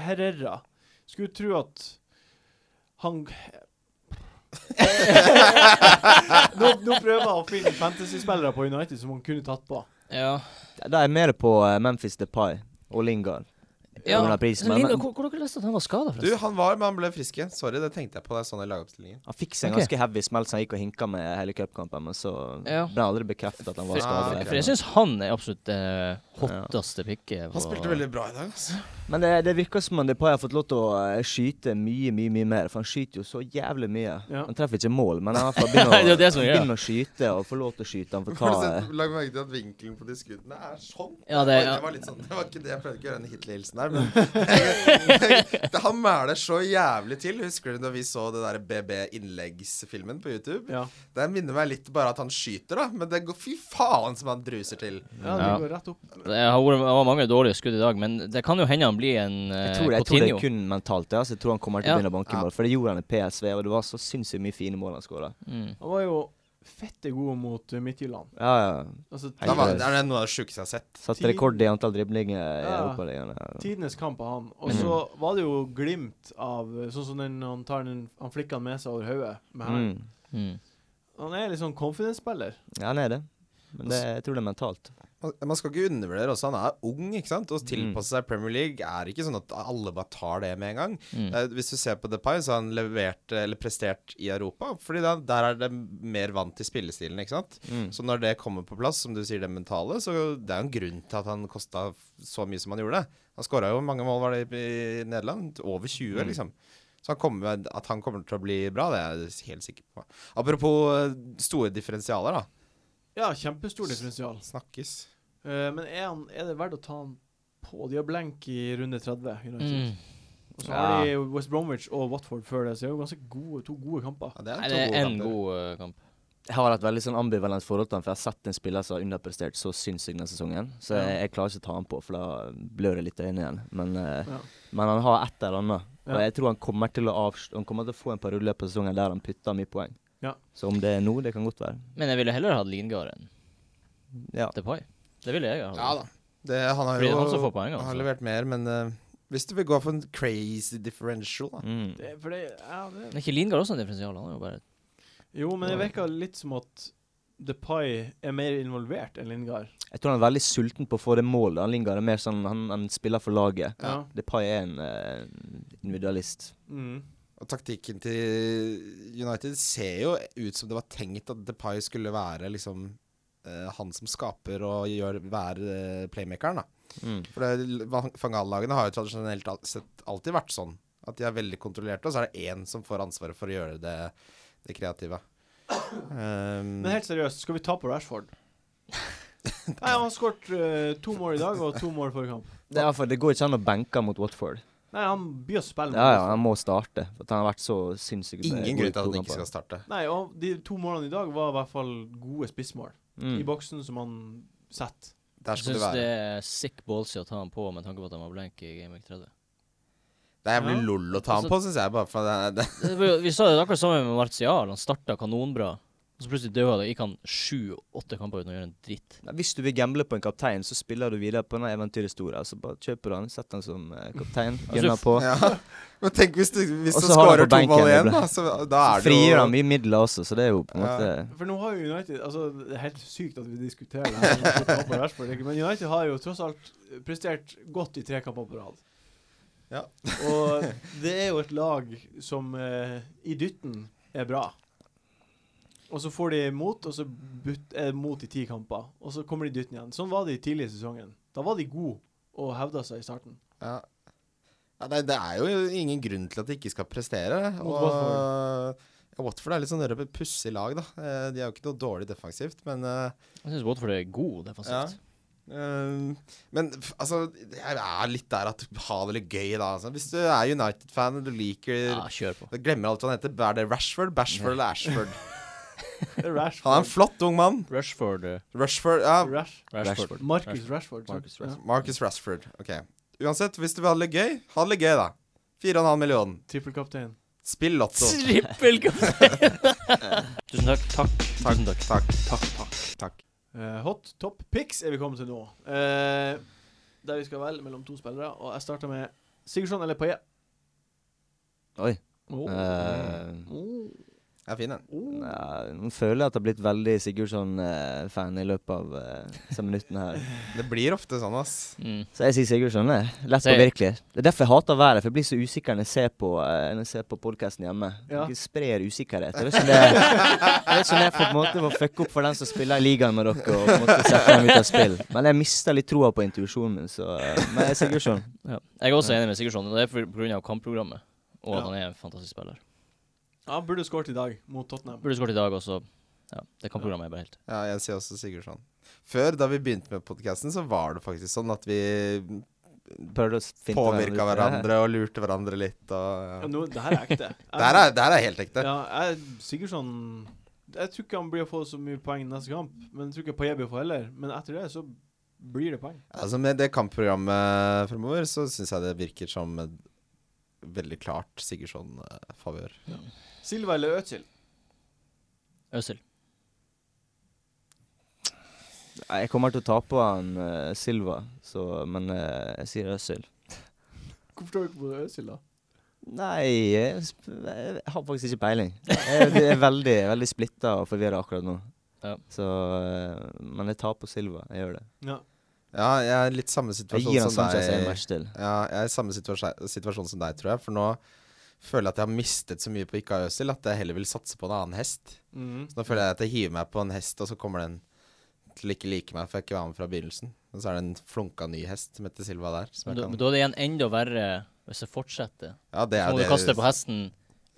Speaker 1: Herrera Skulle tro at han nå, nå prøver jeg å finne fantasyspillere på United som han kunne tatt på.
Speaker 5: Ja.
Speaker 2: Da er jeg mer på eh, Memphis Depay og Lingard.
Speaker 5: ja.
Speaker 2: Under prisen, men-
Speaker 5: Lino, hvor, hvor dere leste at han var skada,
Speaker 4: Du,
Speaker 5: forresten?
Speaker 4: han var, men han ble frisk igjen. Sorry, det tenkte jeg på. Det er sånn i lagoppstillingen.
Speaker 2: Han fikk seg en
Speaker 5: Ok.
Speaker 2: ganske heavy smell som han gikk og hinka med hele cupkampen, men så
Speaker 5: Ja.
Speaker 2: ble han aldri bekreftet at han var
Speaker 5: For,
Speaker 4: Ah,
Speaker 2: skadet.
Speaker 5: for jeg syns han er absolutt det hotteste picket.
Speaker 4: Han spilte veldig bra i dag, altså.
Speaker 2: Men det, det virker som om Depay har fått lov til å eh, skyte mye, mye mye mer. For han skyter jo så jævlig mye.
Speaker 1: Ja.
Speaker 2: Han treffer ikke mål, men han får begynne å,
Speaker 5: Nei, det er det som gjør det.
Speaker 2: begynne å skyte og få lov til å skyte. Han får ta eh,
Speaker 4: Lag merke til at vinkelen på de skuddene er sånn.
Speaker 5: Ja, det-
Speaker 4: Oi, var litt sånn. Det var ikke det jeg prøvde ikke å gjøre en Hitler-hilsen her, men Det- Han mæler så jævlig til. Husker du da vi så det der BB-innleggsfilmen på YouTube?
Speaker 1: Ja.
Speaker 4: Det minner meg litt bare at han skyter, da, men det går fy faen som han druser til.
Speaker 1: ja, det
Speaker 5: Ja.
Speaker 1: går rett opp.
Speaker 5: Det har vært det var mange dårlige skudd i dag, men det kan jo hende han blir en eh,
Speaker 2: Jeg tror, det, jeg tror det
Speaker 5: Coutinho.
Speaker 2: er kun mentalt. Ja. Så jeg tror han kommer til
Speaker 5: Ja.
Speaker 2: å begynne å banke
Speaker 4: Ja.
Speaker 2: mål. For det gjorde han i PSV, og det var så sinnssykt mye fine mål han skåra.
Speaker 5: mm.
Speaker 1: Han var jo fette god mot eh, Midtjylland.
Speaker 2: Ja, ja.
Speaker 1: Altså,
Speaker 2: Hei,
Speaker 4: Da
Speaker 1: ti-
Speaker 4: var, det er noe av det sjukeste jeg har sett.
Speaker 2: Satt
Speaker 1: Ti-
Speaker 2: rekord i antall driblinger i
Speaker 1: Ja.
Speaker 2: Europaligaen. ja.
Speaker 1: tidenes kamp av han. Og så var det jo glimt av eh, Sånn som den, han tar den Han flikker han med seg over hodet med hælen.
Speaker 2: Mm.
Speaker 5: Mm.
Speaker 1: Han er litt sånn confidence-spiller.
Speaker 2: Ja, han er det. Men det, jeg tror det er mentalt.
Speaker 4: Man- Man skal ikke undervurdere også, han er ung, ikke sant?
Speaker 5: Mm.
Speaker 4: Å tilpasse seg Premier League er ikke sånn at alle bare tar det med en gang.
Speaker 5: Mm.
Speaker 4: Eh, Hvis du ser på Depay, så har han levert, eh, eller prestert i Europa, fordi da, der er det mer vant til spillestilen, ikke sant?
Speaker 5: Mm.
Speaker 4: Så når det kommer på plass, som du sier, det mentale, så det er jo en grunn til at han kosta så mye som han gjorde. Han skåra jo mange mål var det i i Nederland, over 20,
Speaker 5: Mm.
Speaker 4: liksom. Så han kommer, at han kommer til å bli bra, det er jeg helt sikker på. Apropos eh, store differensialer, da.
Speaker 1: Ja, kjempestor differensial.
Speaker 4: Snakkes.
Speaker 1: Eh, men er, han, er det verdt å ta han på? De har blenk i runde 30. United.
Speaker 5: Mm.
Speaker 1: Og så har de West Bromwich og Watford før det, så det er jo ganske gode, to gode kamper.
Speaker 4: Ja, det
Speaker 5: Nei,
Speaker 4: er
Speaker 5: det
Speaker 4: to
Speaker 5: er
Speaker 4: gode
Speaker 5: en
Speaker 4: kamper.
Speaker 5: god eh, kamp.
Speaker 2: Jeg har et veldig sånn ambivalent forhold til han, for jeg har sett en spiller som har underprestert så sinnssykt denne sesongen, så jeg, jeg klarer ikke å ta han på, for da blør det litt i øynene igjen. Men, eh,
Speaker 1: Ja.
Speaker 2: men han har et eller annet. Og
Speaker 1: Ja.
Speaker 2: jeg tror han kommer til å avs- Han kommer til å få en periode i løpet av sesongen der han putter mye poeng.
Speaker 1: Ja.
Speaker 2: Så om det er nå, det kan godt være.
Speaker 5: Men jeg ville heller hatt Lingard enn
Speaker 2: Ja.
Speaker 5: Depay. Det ville jeg ha.
Speaker 4: Ja da. Det, han har
Speaker 5: Fordi
Speaker 4: jo
Speaker 5: han også får poeng,
Speaker 4: han har
Speaker 5: altså.
Speaker 4: levert mer, men eh, hvis du vil gå for en crazy differential, da.
Speaker 2: Mm.
Speaker 1: Det, er- for det, ja, det
Speaker 5: Men er ikke Lingard også en differensial? Han er jo bare
Speaker 1: Jo, men det virker litt som at DePay er mer involvert enn Lingard.
Speaker 2: Jeg tror han er veldig sulten på å få det målet. Han Lingard er mer sånn, han, han spiller for laget.
Speaker 1: Ja.
Speaker 2: Depay er en eh, individualist.
Speaker 1: Mm.
Speaker 4: Og taktikken til United ser jo ut som det var tenkt at Depay skulle være liksom eh, han som skaper og gjør, være eh, playmakeren, da.
Speaker 1: Mm.
Speaker 4: For det- van- Fangal-lagene har jo tradisjonelt al- sett alltid vært sånn. At de er veldig kontrollerte, og så er det én som får ansvaret for å gjøre det, det kreative. Um,
Speaker 1: Men helt seriøst, skal vi ta på Rashford? Nei, han har skåret eh, to mål i dag og to mål forrige kamp.
Speaker 2: Det, er, for det går ikke an å benke mot Watford.
Speaker 1: Nei, han byr å spille. med
Speaker 2: Ja, ja,
Speaker 1: Rashford.
Speaker 2: Han må starte. For at han har vært så sinnssykt
Speaker 4: Ehm, ingen grunn til at han ikke skal starte.
Speaker 1: Nei, og de to målene i dag var i hvert fall gode spissmål. I
Speaker 2: mm.
Speaker 1: boksen som han setter.
Speaker 4: Der
Speaker 5: Jeg
Speaker 4: skal du
Speaker 5: syns det
Speaker 4: være.
Speaker 5: er sick ballsy å ta han på med tanke på at han var blank i Game Week 30.
Speaker 4: Det er jævlig
Speaker 1: Ja.
Speaker 4: lol å ta ham
Speaker 5: Altså-
Speaker 4: på, syns jeg. Bare for det, det.
Speaker 5: Det var jo- Vi sa det akkurat sammen med Martial. Han starta kanonbra. Og så plutselig døde han. Da gikk han sju-åtte kamper uten å gjøre en dritt.
Speaker 2: Nei, Hvis du vil gamble på en kaptein, så spiller du videre på den eventyret store. Altså, bare kjøper du han, setter han som eh, kaptein, gønner på.
Speaker 4: Altså, Ja. Men tenk hvis du, hvis
Speaker 2: Og
Speaker 4: du
Speaker 2: så har han
Speaker 4: skårer
Speaker 2: på
Speaker 4: to
Speaker 2: benken,
Speaker 4: mål igjen,
Speaker 2: det ble-
Speaker 4: da. Så, da er det
Speaker 2: Frigjør han
Speaker 4: jo
Speaker 2: mye midler også, så det er jo på en
Speaker 4: Ja.
Speaker 2: måte
Speaker 1: For nå har jo United Altså, det er helt sykt at vi diskuterer det her, med kamp på Rashford, ikke? men United har jo tross alt prestert godt i tre kamper på rad.
Speaker 4: Ja.
Speaker 1: Og det er jo et lag som eh, i dytten er bra. Og så får de mot, og så butt, er det mot i ti kamper. Og så kommer de i dytten igjen. Sånn var de tidlig i sesongen. Da var de gode og hevda seg i starten.
Speaker 4: ja. Ja, nei, det er jo ingen grunn til at de ikke skal prestere.
Speaker 1: Mot
Speaker 4: Og
Speaker 1: Watford.
Speaker 4: ja, Watford er litt sånn rød- pussig lag, da. Eh, De er jo ikke noe dårlig defensivt, men eh,
Speaker 5: Jeg syns Watford er god defensivt.
Speaker 4: Um, men f- altså, jeg er litt der at ha det litt gøy, da. Altså. Hvis du er United-fan og du liker
Speaker 5: Ja, kjør på.
Speaker 4: du Glemmer alt hva han heter. Er det Rashford, Bashford eller Ashford?
Speaker 1: Det er
Speaker 4: Han er en
Speaker 1: Rashford.
Speaker 4: flott ung mann.
Speaker 5: Rushford. eh,
Speaker 4: Rashford Ja,
Speaker 1: Rash,
Speaker 5: Rashford.
Speaker 1: Marcus Rashford. sant?
Speaker 5: Marcus Rashford.
Speaker 4: Marcus Rashford. Ok. Uansett, hvis du vil ha det litt gøy, ha det litt gøy, da. 4,5 million.
Speaker 1: Ja. Trippelkaptein.
Speaker 4: Spill Lotto.
Speaker 5: Trippelkaptein! Tusen takk. Takk. Tusen takk.
Speaker 4: Takk.
Speaker 1: Eh, hot top picks er vi kommet til nå. Eh, der vi skal velge mellom to spillere. Og jeg starter med Sigurdsson eller Paillet.
Speaker 2: Oi.
Speaker 1: Oh.
Speaker 2: eh,
Speaker 1: Oh.
Speaker 4: Det er fin, den.
Speaker 2: Nei, Nå føler jeg at jeg har blitt veldig Sigurdsson-fan i løpet av eh, disse minuttene her.
Speaker 4: Det blir ofte sånn, ass.
Speaker 5: Mm.
Speaker 2: Så jeg sier Sigurdsson. jeg. Lett
Speaker 5: Sier-
Speaker 2: og virkelig. Det er derfor jeg hater været, for jeg blir så usikker når jeg ser på, eh, når jeg ser på podkasten hjemme.
Speaker 1: Ja.
Speaker 2: Dere sprer usikkerhet. Jeg vet ikke om det jeg vet ikke om det er på en måte å fucke opp for den som spiller i ligaen med dere, og på en måte sette dem ut av spill. Men jeg mister litt troa på intuisjonen min, så eh, Men jeg er Sigurdsson.
Speaker 5: Ja. Jeg er også enig med Sigurdsson. og Det er for- på grunn av kampprogrammet. Og
Speaker 1: Ja.
Speaker 5: at han er en fantastisk spiller.
Speaker 1: Ja, burde skåret i dag mot Tottenham.
Speaker 5: Burde skåret i dag også. Ja, det kampprogrammet er bare helt
Speaker 4: Ja, jeg sier også Sigurdsson. Før, da vi begynte med podkasten, så var det faktisk sånn at vi
Speaker 2: Prøvde å finte
Speaker 4: påvirka hverandre og lurte hverandre litt. Og, ja.
Speaker 1: Ja, nå, det her er ekte.
Speaker 4: Det her er, det her er helt ekte.
Speaker 1: ja, jeg, Sigurdsson Jeg tror ikke han blir å få så mye poeng neste kamp. Men jeg tror ikke Paillet blir å få heller. Men etter det så blir det poeng.
Speaker 4: Altså Med det kampprogrammet fremover, så syns jeg det virker som et veldig klart sånn, eh, Sigurdsson-favør.
Speaker 1: Silva eller Øzil?
Speaker 5: Øzil.
Speaker 2: Nei, Jeg kommer til å tape han eh, Silva, så, men eh, jeg sier Øzil.
Speaker 1: Hvorfor står du ikke på Øzil, da?
Speaker 2: Nei, jeg, sp- jeg har faktisk ikke peiling. Jeg, jeg er veldig, veldig splitta og forvirra akkurat nå.
Speaker 5: Ja.
Speaker 2: Så, eh, men jeg tar på Silva. Jeg gjør det.
Speaker 1: Ja.
Speaker 4: Ja, jeg er litt samme
Speaker 2: Jeg
Speaker 4: situasjon
Speaker 2: gir han
Speaker 4: som
Speaker 2: Sanchez en
Speaker 4: deg.
Speaker 2: match til.
Speaker 4: Ja, jeg er i samme situasjon, situasjon som deg, tror jeg. For nå føler jeg at jeg har mistet så mye på Ikka Øzil at jeg heller vil satse på en annen hest.
Speaker 1: Mhm.
Speaker 4: Så nå føler jeg at jeg hiver meg på en hest, og så kommer den til å ikke like meg, for jeg ikke var med fra begynnelsen. Og så er det en flunka ny hest, Mette Silva, der. Som
Speaker 5: Men
Speaker 4: jeg
Speaker 5: da, men
Speaker 4: kan.
Speaker 5: da er det igjen enda verre hvis det fortsetter.
Speaker 4: Ja, det
Speaker 5: Så
Speaker 4: er
Speaker 5: må du
Speaker 4: det.
Speaker 5: kaste på hesten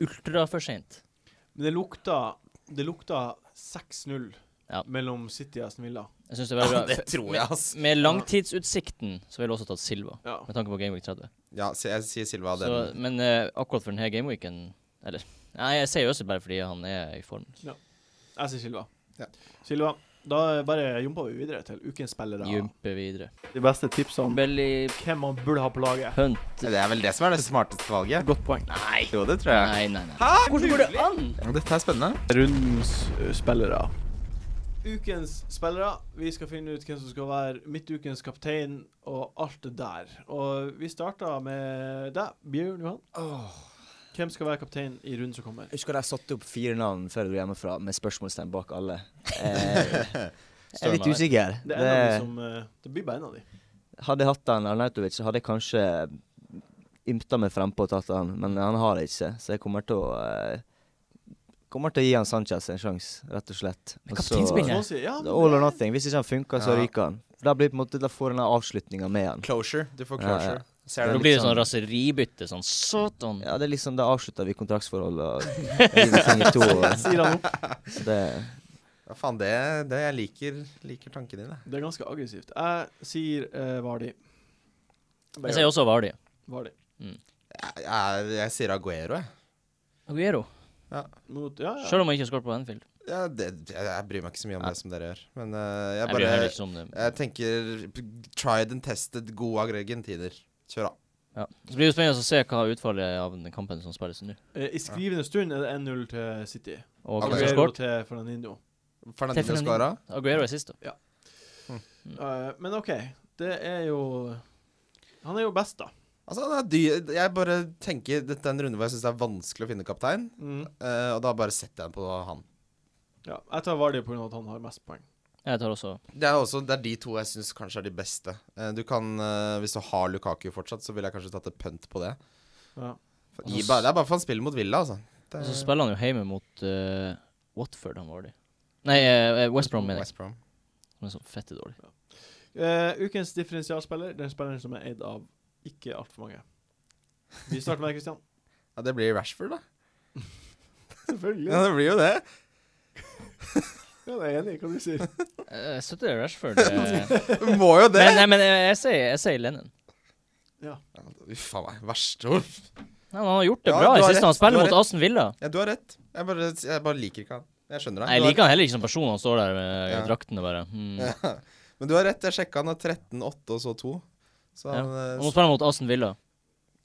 Speaker 5: ultra for sent.
Speaker 1: Men det lukta Det lukta 6-0
Speaker 5: Ja.
Speaker 1: mellom City og Aston Villa.
Speaker 5: Jeg synes det er veldig bra.
Speaker 4: Det tror jeg, ass.
Speaker 5: Med langtidsutsikten så ville jeg også tatt Silva,
Speaker 1: Ja.
Speaker 5: med tanke på Gameweek 30.
Speaker 4: Ja, så jeg sier Silva. Den.
Speaker 5: Så, men eh, akkurat for denne gameweeken Eller Nei, jeg sier Øzil bare fordi han er i form.
Speaker 1: Jeg sier Silva.
Speaker 4: Ja.
Speaker 1: Silva, da bare jumper vi videre til ukens spillere.
Speaker 5: Jumpe videre.
Speaker 1: De beste tipsene om
Speaker 5: Belly
Speaker 1: hvem man burde ha på laget.
Speaker 5: punt.
Speaker 4: Det er vel det som er det smarteste valget.
Speaker 1: Godt poeng.
Speaker 4: Nei. Jo, det tror jeg.
Speaker 5: Nei, nei, nei. Hvordan går det an?
Speaker 4: Dette er spennende.
Speaker 1: Rundens uh, spillere. Ukens spillere. Vi skal finne ut hvem som skal være midtukens kaptein og alt det der. Og vi starter med deg, Bjørn Johan. Hvem skal være kaptein i runden som kommer?
Speaker 2: Jeg husker jeg satte opp fire navn før jeg dro hjemmefra, med spørsmålstegn bak alle. Eh, jeg er litt
Speaker 5: Stormer.
Speaker 2: usikker.
Speaker 1: Det, er en av de som, eh, det blir bare en av de.
Speaker 2: Hadde jeg hatt han Arnautovic, så hadde jeg kanskje ymta meg frempå og tatt han, men han har det ikke, så jeg kommer til å eh, Kommer til å gi han Sanchez en sjanse, rett og slett.
Speaker 5: Men
Speaker 2: Og så-
Speaker 5: kapteinspiller?
Speaker 1: Sånn sier- ja, men
Speaker 2: Det er All
Speaker 1: det-
Speaker 2: or nothing. Hvis ikke han funker, så
Speaker 4: Ja.
Speaker 2: ryker han. Da, blir på en måte, da får han avslutninga med han.
Speaker 4: Closure. Du får
Speaker 2: Ja, ja.
Speaker 4: closure. Ser
Speaker 5: Da
Speaker 4: du
Speaker 2: litt
Speaker 5: blir det sånn raseribytte.
Speaker 2: sånn-
Speaker 5: Sånn satan.
Speaker 2: Ja, det er liksom, Da avslutter vi kontraktsforholdet og river ting i to. og-
Speaker 1: Sier han opp.
Speaker 2: Så det,
Speaker 4: sånn. Ja, faen, det, det jeg liker, liker tankene dine.
Speaker 1: Det er ganske aggressivt. Jeg sier eh, Vardi.
Speaker 5: Jeg sier også Vardi.
Speaker 1: Vardi.
Speaker 4: Jeg, jeg, jeg sier Aguero, jeg.
Speaker 5: Aguero.
Speaker 1: Mot, ja, ja.
Speaker 5: Selv om han ikke har skåret på Anfield.
Speaker 4: Ja, det, jeg, jeg bryr meg ikke så mye om
Speaker 2: Ja.
Speaker 4: det som dere gjør. Men eh,
Speaker 5: Jeg bryr
Speaker 4: jeg bare
Speaker 5: meg heller ikke om det.
Speaker 4: Jeg tenker tried and tested, gode argentiner. Kjør, da.
Speaker 5: Ja. Så blir det spennende å se hva utfallet av den kampen som spilles nå.
Speaker 1: Eh, I skrivende stund er det 1-0 til City.
Speaker 5: Og hvem som har
Speaker 1: Aguero
Speaker 5: skåret?
Speaker 1: til Fernandinho.
Speaker 4: Fernandinho
Speaker 5: Fernandinho.
Speaker 4: skåra.
Speaker 5: Aguero er sist, da.
Speaker 1: Eh, men OK, det er jo Han er jo best, da.
Speaker 4: Altså, han er dyr. Jeg bare tenker Dette er en runde hvor jeg syns det er vanskelig å finne kaptein,
Speaker 1: Mm.
Speaker 4: eh, og da bare setter jeg den på han.
Speaker 1: Ja, jeg tar Vardi pga. at han har mest poeng.
Speaker 5: Jeg tar også
Speaker 4: Det er også det er de to jeg syns kanskje er de beste. Eh, du kan, eh, Hvis du har Lukaku fortsatt, så ville jeg kanskje tatt et pønt på det.
Speaker 1: Ja.
Speaker 4: For- i, bare- det er bare for han spiller mot Villa, altså. Det
Speaker 5: Og
Speaker 4: er-
Speaker 5: så spiller han jo hjemme mot eh, Watford, han Vardy. Nei, eh, eh, West Brom, mener jeg.
Speaker 4: West Brom.
Speaker 5: Som er så fette dårlig.
Speaker 1: Eh, ukens differensialspiller, den spilleren som er eid av ikke altfor mange. Vi starter med deg, Christian.
Speaker 4: Ja, det blir Rashford, da.
Speaker 1: Selvfølgelig.
Speaker 4: Ja, det blir jo det.
Speaker 1: jeg er enig i hva du sier.
Speaker 5: Eh, Jeg støtter Rashford. eh.
Speaker 4: Du må jo
Speaker 5: men,
Speaker 4: det!
Speaker 5: nei, men eh, jeg, jeg, sier, jeg sier Lennon.
Speaker 4: Uff a meg. Verst. Uff.
Speaker 5: Nei, men han har gjort det
Speaker 4: Ja,
Speaker 5: bra
Speaker 4: du
Speaker 5: i
Speaker 4: har
Speaker 5: siste. Han
Speaker 4: rett, du
Speaker 5: spiller
Speaker 4: har
Speaker 5: mot
Speaker 4: rett.
Speaker 5: Aston Villa.
Speaker 4: Ja, du har rett. Jeg bare, jeg bare liker ikke han. Jeg skjønner deg.
Speaker 5: Nei, Jeg liker han heller ikke som person. Han står der med
Speaker 4: Ja.
Speaker 5: drakten og bare hmm.
Speaker 4: Ja. Men du har rett, jeg sjekka han har 13, 8 og så 2. Så
Speaker 5: Ja.
Speaker 4: han,
Speaker 5: Og
Speaker 4: eh,
Speaker 5: Nå spiller han mot Aston Villa.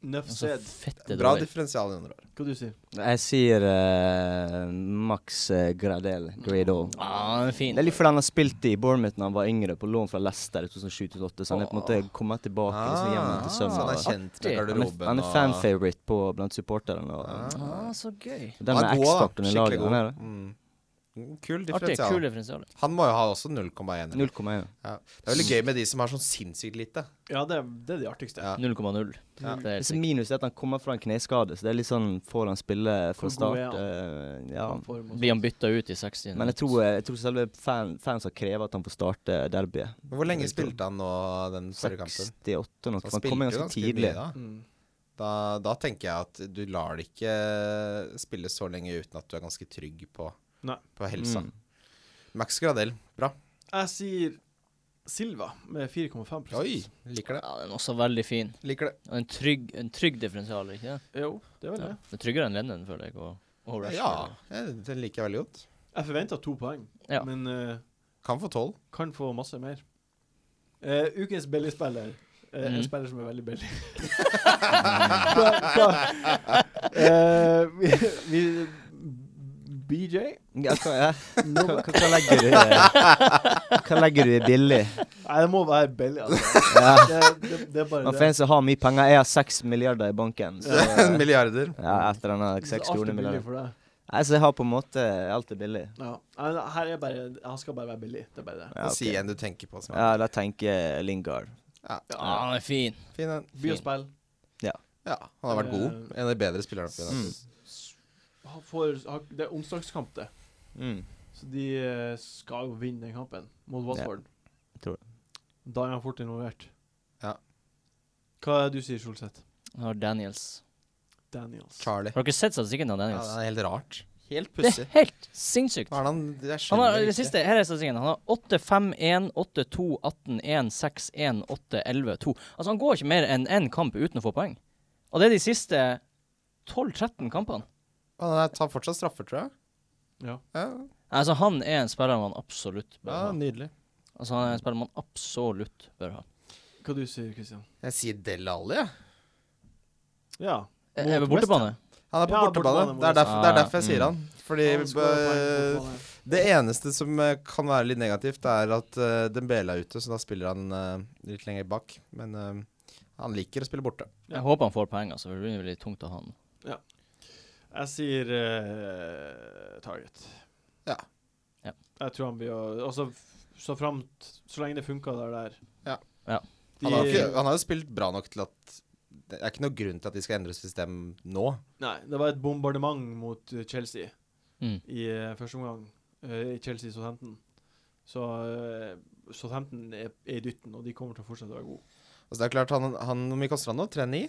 Speaker 1: Nøff
Speaker 5: Han er
Speaker 1: sed.
Speaker 5: så fette
Speaker 4: Bra
Speaker 5: dårlig.
Speaker 4: differensial i andre år.
Speaker 1: Hva du sier
Speaker 2: jeg sier eh, Max eh, Gradel. Gradel.
Speaker 5: Ah, han er fin.
Speaker 2: Det er litt fordi han har spilt i Bournemouth når han var yngre, på lån fra Leicester i 2007-2008, så han er på en måte kommet tilbake liksom, hjem til
Speaker 4: Ah, så han
Speaker 2: sømmen.
Speaker 4: sånn er kjent med
Speaker 5: Artig.
Speaker 2: Han er,
Speaker 4: garderoben
Speaker 2: han er
Speaker 4: og-
Speaker 2: fanfavorite på- blant supporterne. Og,
Speaker 5: Ah, så gøy.
Speaker 2: den
Speaker 4: Han
Speaker 2: er
Speaker 4: er god, da.
Speaker 2: X-faktoren i
Speaker 4: Skikkelig
Speaker 2: laget.
Speaker 4: god.
Speaker 2: Han er det.
Speaker 4: Mm. Kul
Speaker 5: Artig. Kul
Speaker 4: differensial.
Speaker 5: differensial.
Speaker 4: Han må jo ha også 0,1. eller?
Speaker 2: 0,1.
Speaker 4: Ja. Det er veldig gøy med de som har sånn sinnssykt lite.
Speaker 1: Ja, det, er- det er de artigste.
Speaker 4: Ja.
Speaker 5: 0,0.
Speaker 4: Ja.
Speaker 5: Det er
Speaker 2: Det
Speaker 5: helt
Speaker 2: som
Speaker 5: sikkert.
Speaker 2: minus er at han kommer fra en kneskade, så det er litt sånn Får han spille
Speaker 1: Hvor
Speaker 2: fra
Speaker 1: god er
Speaker 2: start? eh, ja.
Speaker 1: Form og sånt.
Speaker 5: Blir han bytta ut i 60?
Speaker 2: Men jeg tror, eh, jeg tror selve fan, fans har krevet at han får starte derbyet.
Speaker 4: Men hvor lenge spilte han nå den forrige kampen?
Speaker 2: 68 noe.
Speaker 4: Så
Speaker 2: for Han kom jo
Speaker 4: jo
Speaker 2: ganske tidlig.
Speaker 4: mye da.
Speaker 1: Mm.
Speaker 4: Da, da tenker jeg at du lar det ikke spille så lenge uten at du er ganske trygg på,
Speaker 1: Nei.
Speaker 4: på helsa.
Speaker 2: Mm.
Speaker 4: Max Gradel, bra.
Speaker 1: Jeg sier Silva med 4,5
Speaker 4: Oi, liker det.
Speaker 5: Ja, den er også veldig fin.
Speaker 4: Liker det.
Speaker 5: Og en trygg, en trygg differensial, ikke det?
Speaker 1: Jo, det er vel
Speaker 5: Ja.
Speaker 1: det.
Speaker 5: Det er tryggere enn Lennon, føler jeg. Og, og
Speaker 4: Ja,
Speaker 5: Rashford.
Speaker 4: ja, den liker jeg veldig godt.
Speaker 1: Jeg forventa to poeng,
Speaker 5: Ja.
Speaker 1: men eh,
Speaker 4: Kan få tolv.
Speaker 1: kan få masse mer. Eh, ukens billigspiller. Uh, En
Speaker 5: Mhm.
Speaker 1: spiller som er veldig billig. Hva- hva- Eh, vi, vi BJ?
Speaker 2: Ja, hva, ja. Hva, hva, hva legger du i Hva legger du i billig?
Speaker 1: Nei, det må være billig, altså.
Speaker 2: Ja.
Speaker 1: Det, det, det er bare
Speaker 2: Man får
Speaker 1: det.
Speaker 2: en som har mye penger. Jeg har seks milliarder i banken. Så ja,
Speaker 4: Milliarder.
Speaker 2: et eller annet seks
Speaker 1: Alt er
Speaker 2: kroner
Speaker 1: billig
Speaker 2: milliarder.
Speaker 1: for deg.
Speaker 2: Nei, så jeg har på en måte Alt er billig.
Speaker 1: Ja. Nei, men Her er bare Han skal bare være billig. Det er bare det.
Speaker 2: Ja, ok.
Speaker 4: Si en du tenker på. Som er.
Speaker 2: ja da tenker jeg Lingard.
Speaker 5: Ja, han er fin.
Speaker 4: Fin en.
Speaker 1: By
Speaker 5: Fin.
Speaker 1: og spill.
Speaker 4: Ja, han har vært god. En av de bedre spillerne på United.
Speaker 1: Han får- han- Det er onsdagskamp, det.
Speaker 2: Mm.
Speaker 1: Så de eh, skal jo vinne den kampen mot Watford.
Speaker 2: jeg tror
Speaker 1: Da er han fort involvert.
Speaker 4: Ja.
Speaker 1: Hva er det du sier, Solseth?
Speaker 5: Han har Daniels.
Speaker 1: Daniels.
Speaker 4: Charlie.
Speaker 5: Har dere sett statistikken til
Speaker 4: Ja,
Speaker 5: Daniels?
Speaker 4: det er helt rart. Helt
Speaker 5: det er
Speaker 4: pussig.
Speaker 5: helt sinnssykt.
Speaker 4: Hva er det han Jeg
Speaker 5: Han
Speaker 4: skjønner
Speaker 5: har, det
Speaker 4: ikke.
Speaker 5: siste, her er statistikken. Han har 8, 5, 1, 8, 2, 18, 1, 6, 1, 8, 11, 2. Altså, han går ikke mer enn én kamp uten å få poeng. Og det er de siste 12-13 kampene.
Speaker 4: Han er- tar fortsatt straffer, tror jeg.
Speaker 1: Ja.
Speaker 4: Ja,
Speaker 5: Altså, han er en spiller man absolutt bør
Speaker 4: ja
Speaker 5: ha.
Speaker 4: Nydelig.
Speaker 5: Altså, han er en spiller man absolutt bør ha.
Speaker 1: Hva du sier Christian?
Speaker 4: Jeg sier Del Alli, jeg.
Speaker 1: Ja.
Speaker 5: Er
Speaker 1: Mot
Speaker 5: er vi bortebane?
Speaker 4: Han er på
Speaker 1: Ja,
Speaker 4: bortebane.
Speaker 1: bortebane,
Speaker 4: Det er, derfor, det er derfor jeg
Speaker 2: Ah,
Speaker 4: sier han. Fordi
Speaker 1: Han scorer poeng
Speaker 4: eh,
Speaker 1: på
Speaker 4: det eneste som eh, kan være litt negativt, er at eh, Dembele er ute, så da spiller han eh, litt lenger bak. Men eh, han liker å spille borte.
Speaker 1: Ja.
Speaker 5: Jeg håper han får poeng, altså. for Det blir veldig tungt å ha han.
Speaker 1: Ja. Jeg sier eh, Target.
Speaker 4: Ja.
Speaker 5: Ja.
Speaker 1: Jeg tror han blir å Altså, f- så framt Så lenge det funka der, der.
Speaker 4: Ja.
Speaker 5: Ja.
Speaker 1: De,
Speaker 4: Han har, ikke, han har jo spilt bra nok til at Det er ikke noe grunn til at de skal endre system nå.
Speaker 1: Nei, det var et bombardement mot eh, Chelsea
Speaker 5: Mm.
Speaker 1: i eh, første omgang. eh, I Chelsea Southampton. Så eh, Southampton er, er i dytten, og de kommer til å fortsette å være gode.
Speaker 4: Altså det er klart, han, han, Hvor mye koster han nå? 3,9?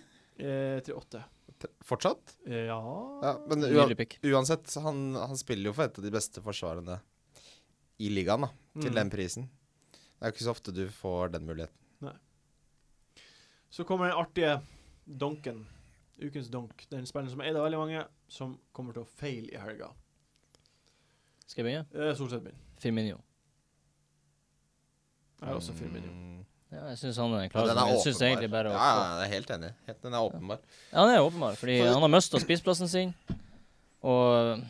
Speaker 1: Eh, til åtte.
Speaker 4: T- Fortsatt?
Speaker 1: Eh, ja.
Speaker 4: Ja, men ua,
Speaker 5: Nydelig pick.
Speaker 4: uansett, så han, han spiller jo for et av de beste forsvarene i ligaen, da. Til
Speaker 1: Mm.
Speaker 4: den prisen. Det er jo ikke så ofte du får den muligheten.
Speaker 1: Så kommer den artige donken. Ukens donk. Den spilleren som er eid av veldig mange, som kommer til å feile i helga.
Speaker 5: Skal jeg begynne?
Speaker 1: Eh, Solseth min.
Speaker 5: Firminio.
Speaker 1: Jeg er også Firmino.
Speaker 4: Mm.
Speaker 5: Ja, jeg syns han er den
Speaker 4: Ja,
Speaker 5: klareste.
Speaker 4: den er
Speaker 5: Jeg synes egentlig
Speaker 4: åpenbar.
Speaker 5: bare å
Speaker 4: Ja, ja, jeg er helt enig. Helt, den er åpenbar.
Speaker 5: Ja, han er åpenbar, fordi
Speaker 4: For-
Speaker 5: han har mista spiseplassen sin. Og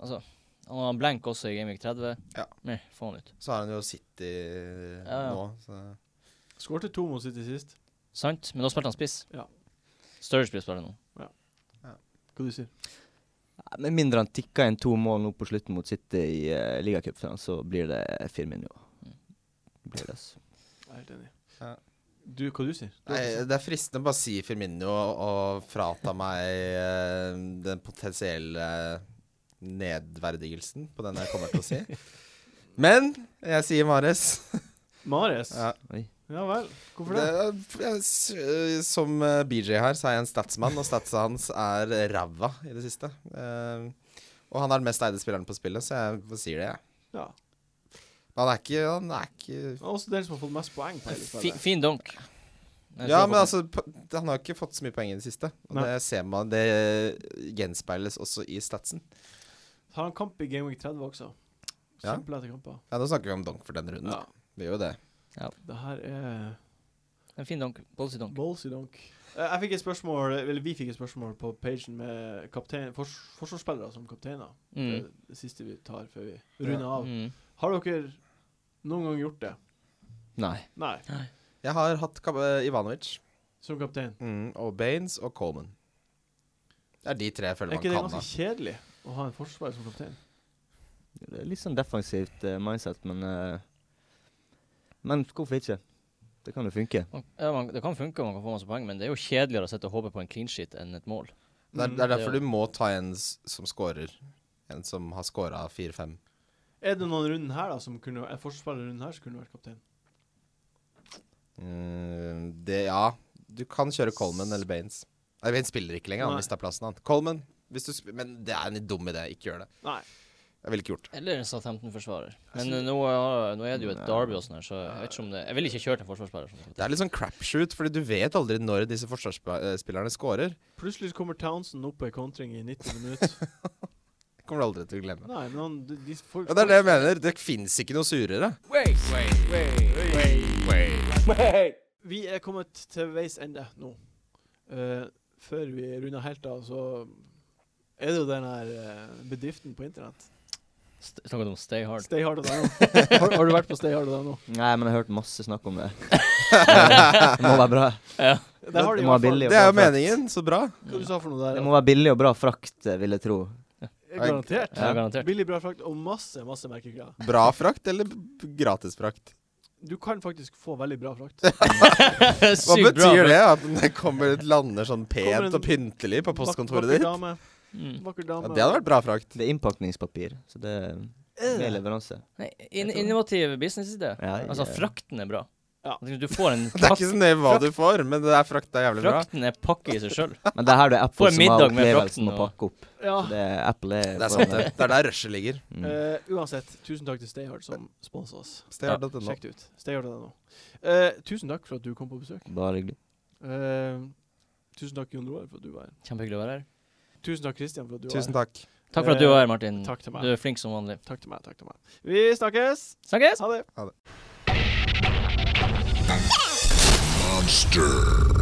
Speaker 5: altså Han har blank også i Gameweek 30.
Speaker 4: Ja.
Speaker 5: Meh, få han ut.
Speaker 4: Så har han jo City
Speaker 5: Ja, ja.
Speaker 4: nå, så
Speaker 1: Skårte to mot City sist.
Speaker 5: Sant? Men da spilte han spiss.
Speaker 1: Ja.
Speaker 5: Sturridge blir spiller nå.
Speaker 1: Hva du sier
Speaker 2: Ja, Med mindre han tikker inn to mål nå på slutten mot City i uh, ligacupfinalen, så blir det Firmino. Blir det, altså.
Speaker 1: Jeg er helt enig.
Speaker 4: Ja.
Speaker 1: Du, hva du sier du?
Speaker 4: Nei, Det er fristende å bare si Firmino og, og frata meg eh, den potensielle nedverdigelsen på den jeg kommer til å si. Men jeg sier Mares.
Speaker 1: Mares? Ja.
Speaker 4: Ja.
Speaker 2: Oi.
Speaker 1: vel. Hvorfor
Speaker 4: Det
Speaker 1: det?
Speaker 4: er- jeg s- eh, som eh, BJ her, så er jeg en statsmann, og statsa hans er ræva i det siste. Eh, og han er den mest eide spilleren på spillet, så jeg sier det, jeg.
Speaker 1: Ja.
Speaker 4: Men han er ikke, han er ikke
Speaker 1: Han er Også den som har fått mest poeng på hele
Speaker 5: Fi,
Speaker 1: spillet.
Speaker 5: fin donk. Jeg
Speaker 4: Ja,
Speaker 5: tror
Speaker 4: men
Speaker 5: på-
Speaker 4: altså, på- han har ikke fått så mye poeng i det siste. Og
Speaker 1: Nei.
Speaker 4: det ser man, det gjenspeiles også i statsen.
Speaker 1: Har han kamp i Game Week 30 også?
Speaker 4: Ja.
Speaker 1: Kjempelette kamper.
Speaker 4: Ja, nå snakker vi om donk for denne runden.
Speaker 1: Ja.
Speaker 4: da. Vi gjør jo det.
Speaker 1: Det her er
Speaker 5: En fin donk. Ballsy donk.
Speaker 1: ballsy donk. Eh, Jeg fikk et spørsmål, eller Vi fikk et spørsmål på pagen med kaptein, fors, forsvarsspillere som kapteiner. Det
Speaker 5: Mm.
Speaker 1: er Det siste vi tar før vi runder av.
Speaker 5: Mm.
Speaker 1: Har dere noen gang gjort det?
Speaker 2: Nei.
Speaker 1: Nei.
Speaker 4: Jeg har hatt Kab- eh, Ivanovic
Speaker 1: Som kaptein?
Speaker 4: mm, og Baines og Coleman. Det er de tre jeg
Speaker 1: Er
Speaker 4: føler man
Speaker 1: ikke det
Speaker 4: kan
Speaker 1: ganske
Speaker 4: ha.
Speaker 1: kjedelig å ha en forsvarer som kaptein?
Speaker 2: Det er litt sånn defensivt eh, mindset, men eh, Men hvorfor ikke? Det kan jo funke.
Speaker 5: Man, ja, man, det kan funke, man kan få masse poeng, men det er jo kjedeligere å sitte og håpe på en clean sheet enn et mål.
Speaker 4: Det er, det er
Speaker 5: det
Speaker 4: derfor
Speaker 5: er-
Speaker 4: du må ta en s- som scorer. En som har scora fire-fem.
Speaker 1: Er det noen runden her da som kunne En forsvarer runden her som kunne vært kaptein?
Speaker 4: Mm, det, ja. Du kan kjøre Coleman eller Baines. Nei, Baines spiller ikke lenger, han
Speaker 1: Nei.
Speaker 4: mista plassen, han. Coleman, hvis du sp Men det er en dum idé, ikke gjør det.
Speaker 1: Nei.
Speaker 4: Jeg ville ikke gjort det.
Speaker 5: Eller en Southampton-forsvarer. Men
Speaker 1: Altså-
Speaker 5: eh, nå, er- nå er det jo et
Speaker 2: Nei.
Speaker 5: derby og sånn her, så jeg vet ikke om det Jeg ville ikke kjørt en forsvarsspiller. som
Speaker 4: Det er litt sånn crapshoot, fordi du vet aldri når disse forsvarsspillerne scorer.
Speaker 1: Plutselig så kommer Townsend opp på ei kontring i 90 minutter.
Speaker 4: Det kommer du aldri til å glemme.
Speaker 1: Nei, men han de, de får,
Speaker 4: Ja, det er det jeg mener. Det fins ikke noe surere.
Speaker 1: Vi er kommet til veis ende nå. Eh, før vi runder helt av, så er det jo den her eh, bedriften på internett.
Speaker 5: St- Snakker du om Stay Hard?
Speaker 1: Stay hard og Har, har du vært på Stay hard og
Speaker 2: Nei, men jeg har hørt masse snakk om det. det må være bra.
Speaker 1: Der har de
Speaker 2: Det
Speaker 1: i hvert
Speaker 2: må være
Speaker 1: fall
Speaker 2: billig og
Speaker 4: Det er
Speaker 2: bra
Speaker 4: jo
Speaker 2: frakt.
Speaker 4: meningen. Så bra.
Speaker 1: Hva du sa for noe der?
Speaker 2: Det må være billig og bra frakt, eh, vil jeg tro.
Speaker 1: Garantert.
Speaker 5: Ja, garantert.
Speaker 1: Billig, bra frakt og masse, masse merkeklær.
Speaker 4: Bra frakt eller b- gratis frakt?
Speaker 1: Du kan faktisk få veldig bra frakt.
Speaker 4: Hva
Speaker 5: Sykt bra.
Speaker 4: betyr
Speaker 5: bro.
Speaker 4: det? At den kommer lander sånn
Speaker 1: Kommer en
Speaker 4: pent og pyntelig på postkontoret
Speaker 1: Vak-
Speaker 4: ditt?
Speaker 1: Vakker dame.
Speaker 5: Mm.
Speaker 1: Vakker
Speaker 4: Ja,
Speaker 1: dame.
Speaker 4: det hadde vært bra frakt.
Speaker 2: Det er innpakningspapir, så det er
Speaker 4: Eh.
Speaker 2: med leveranse.
Speaker 5: Nei, in innovativ businessidé.
Speaker 2: Ja,
Speaker 5: Altså,
Speaker 2: ja.
Speaker 5: frakten er bra.
Speaker 1: Ja.
Speaker 5: Du får en
Speaker 4: Det er ikke så nøye hva du får, men det er frakt det er jævlig bra.
Speaker 5: Frakten er pakke i seg sjøl.
Speaker 2: Men det er her det
Speaker 5: Få
Speaker 2: er Apple
Speaker 5: en
Speaker 2: som har
Speaker 5: middag med
Speaker 2: opplevelsen med å
Speaker 5: frakten og-
Speaker 2: pakke opp.
Speaker 1: Ja.
Speaker 2: Så det er Apple er
Speaker 4: Det er
Speaker 2: foran
Speaker 4: sant, det. Det er der rushet ligger.
Speaker 2: Mm.
Speaker 1: Eh, uansett, tusen takk til Stayhard som sponser oss.
Speaker 4: Stayhard.no.
Speaker 1: Sjekk det ut. Stayhard.no. Eh, tusen takk for at du kom på besøk.
Speaker 2: Bare hyggelig.
Speaker 1: Eh, tusen takk, Jon Roar, for at du var her.
Speaker 5: Kjempehyggelig å være her.
Speaker 1: Tusen takk, Christian, for at du
Speaker 4: Tusen
Speaker 1: var her.
Speaker 4: takk.
Speaker 5: Eh, Takk for at du var her, Martin.
Speaker 1: Takk til meg.
Speaker 5: Du er flink som vanlig.
Speaker 1: Takk til meg. Takk til meg. Vi snakkes!
Speaker 5: Snakkes!
Speaker 1: Ha det.
Speaker 3: Monster.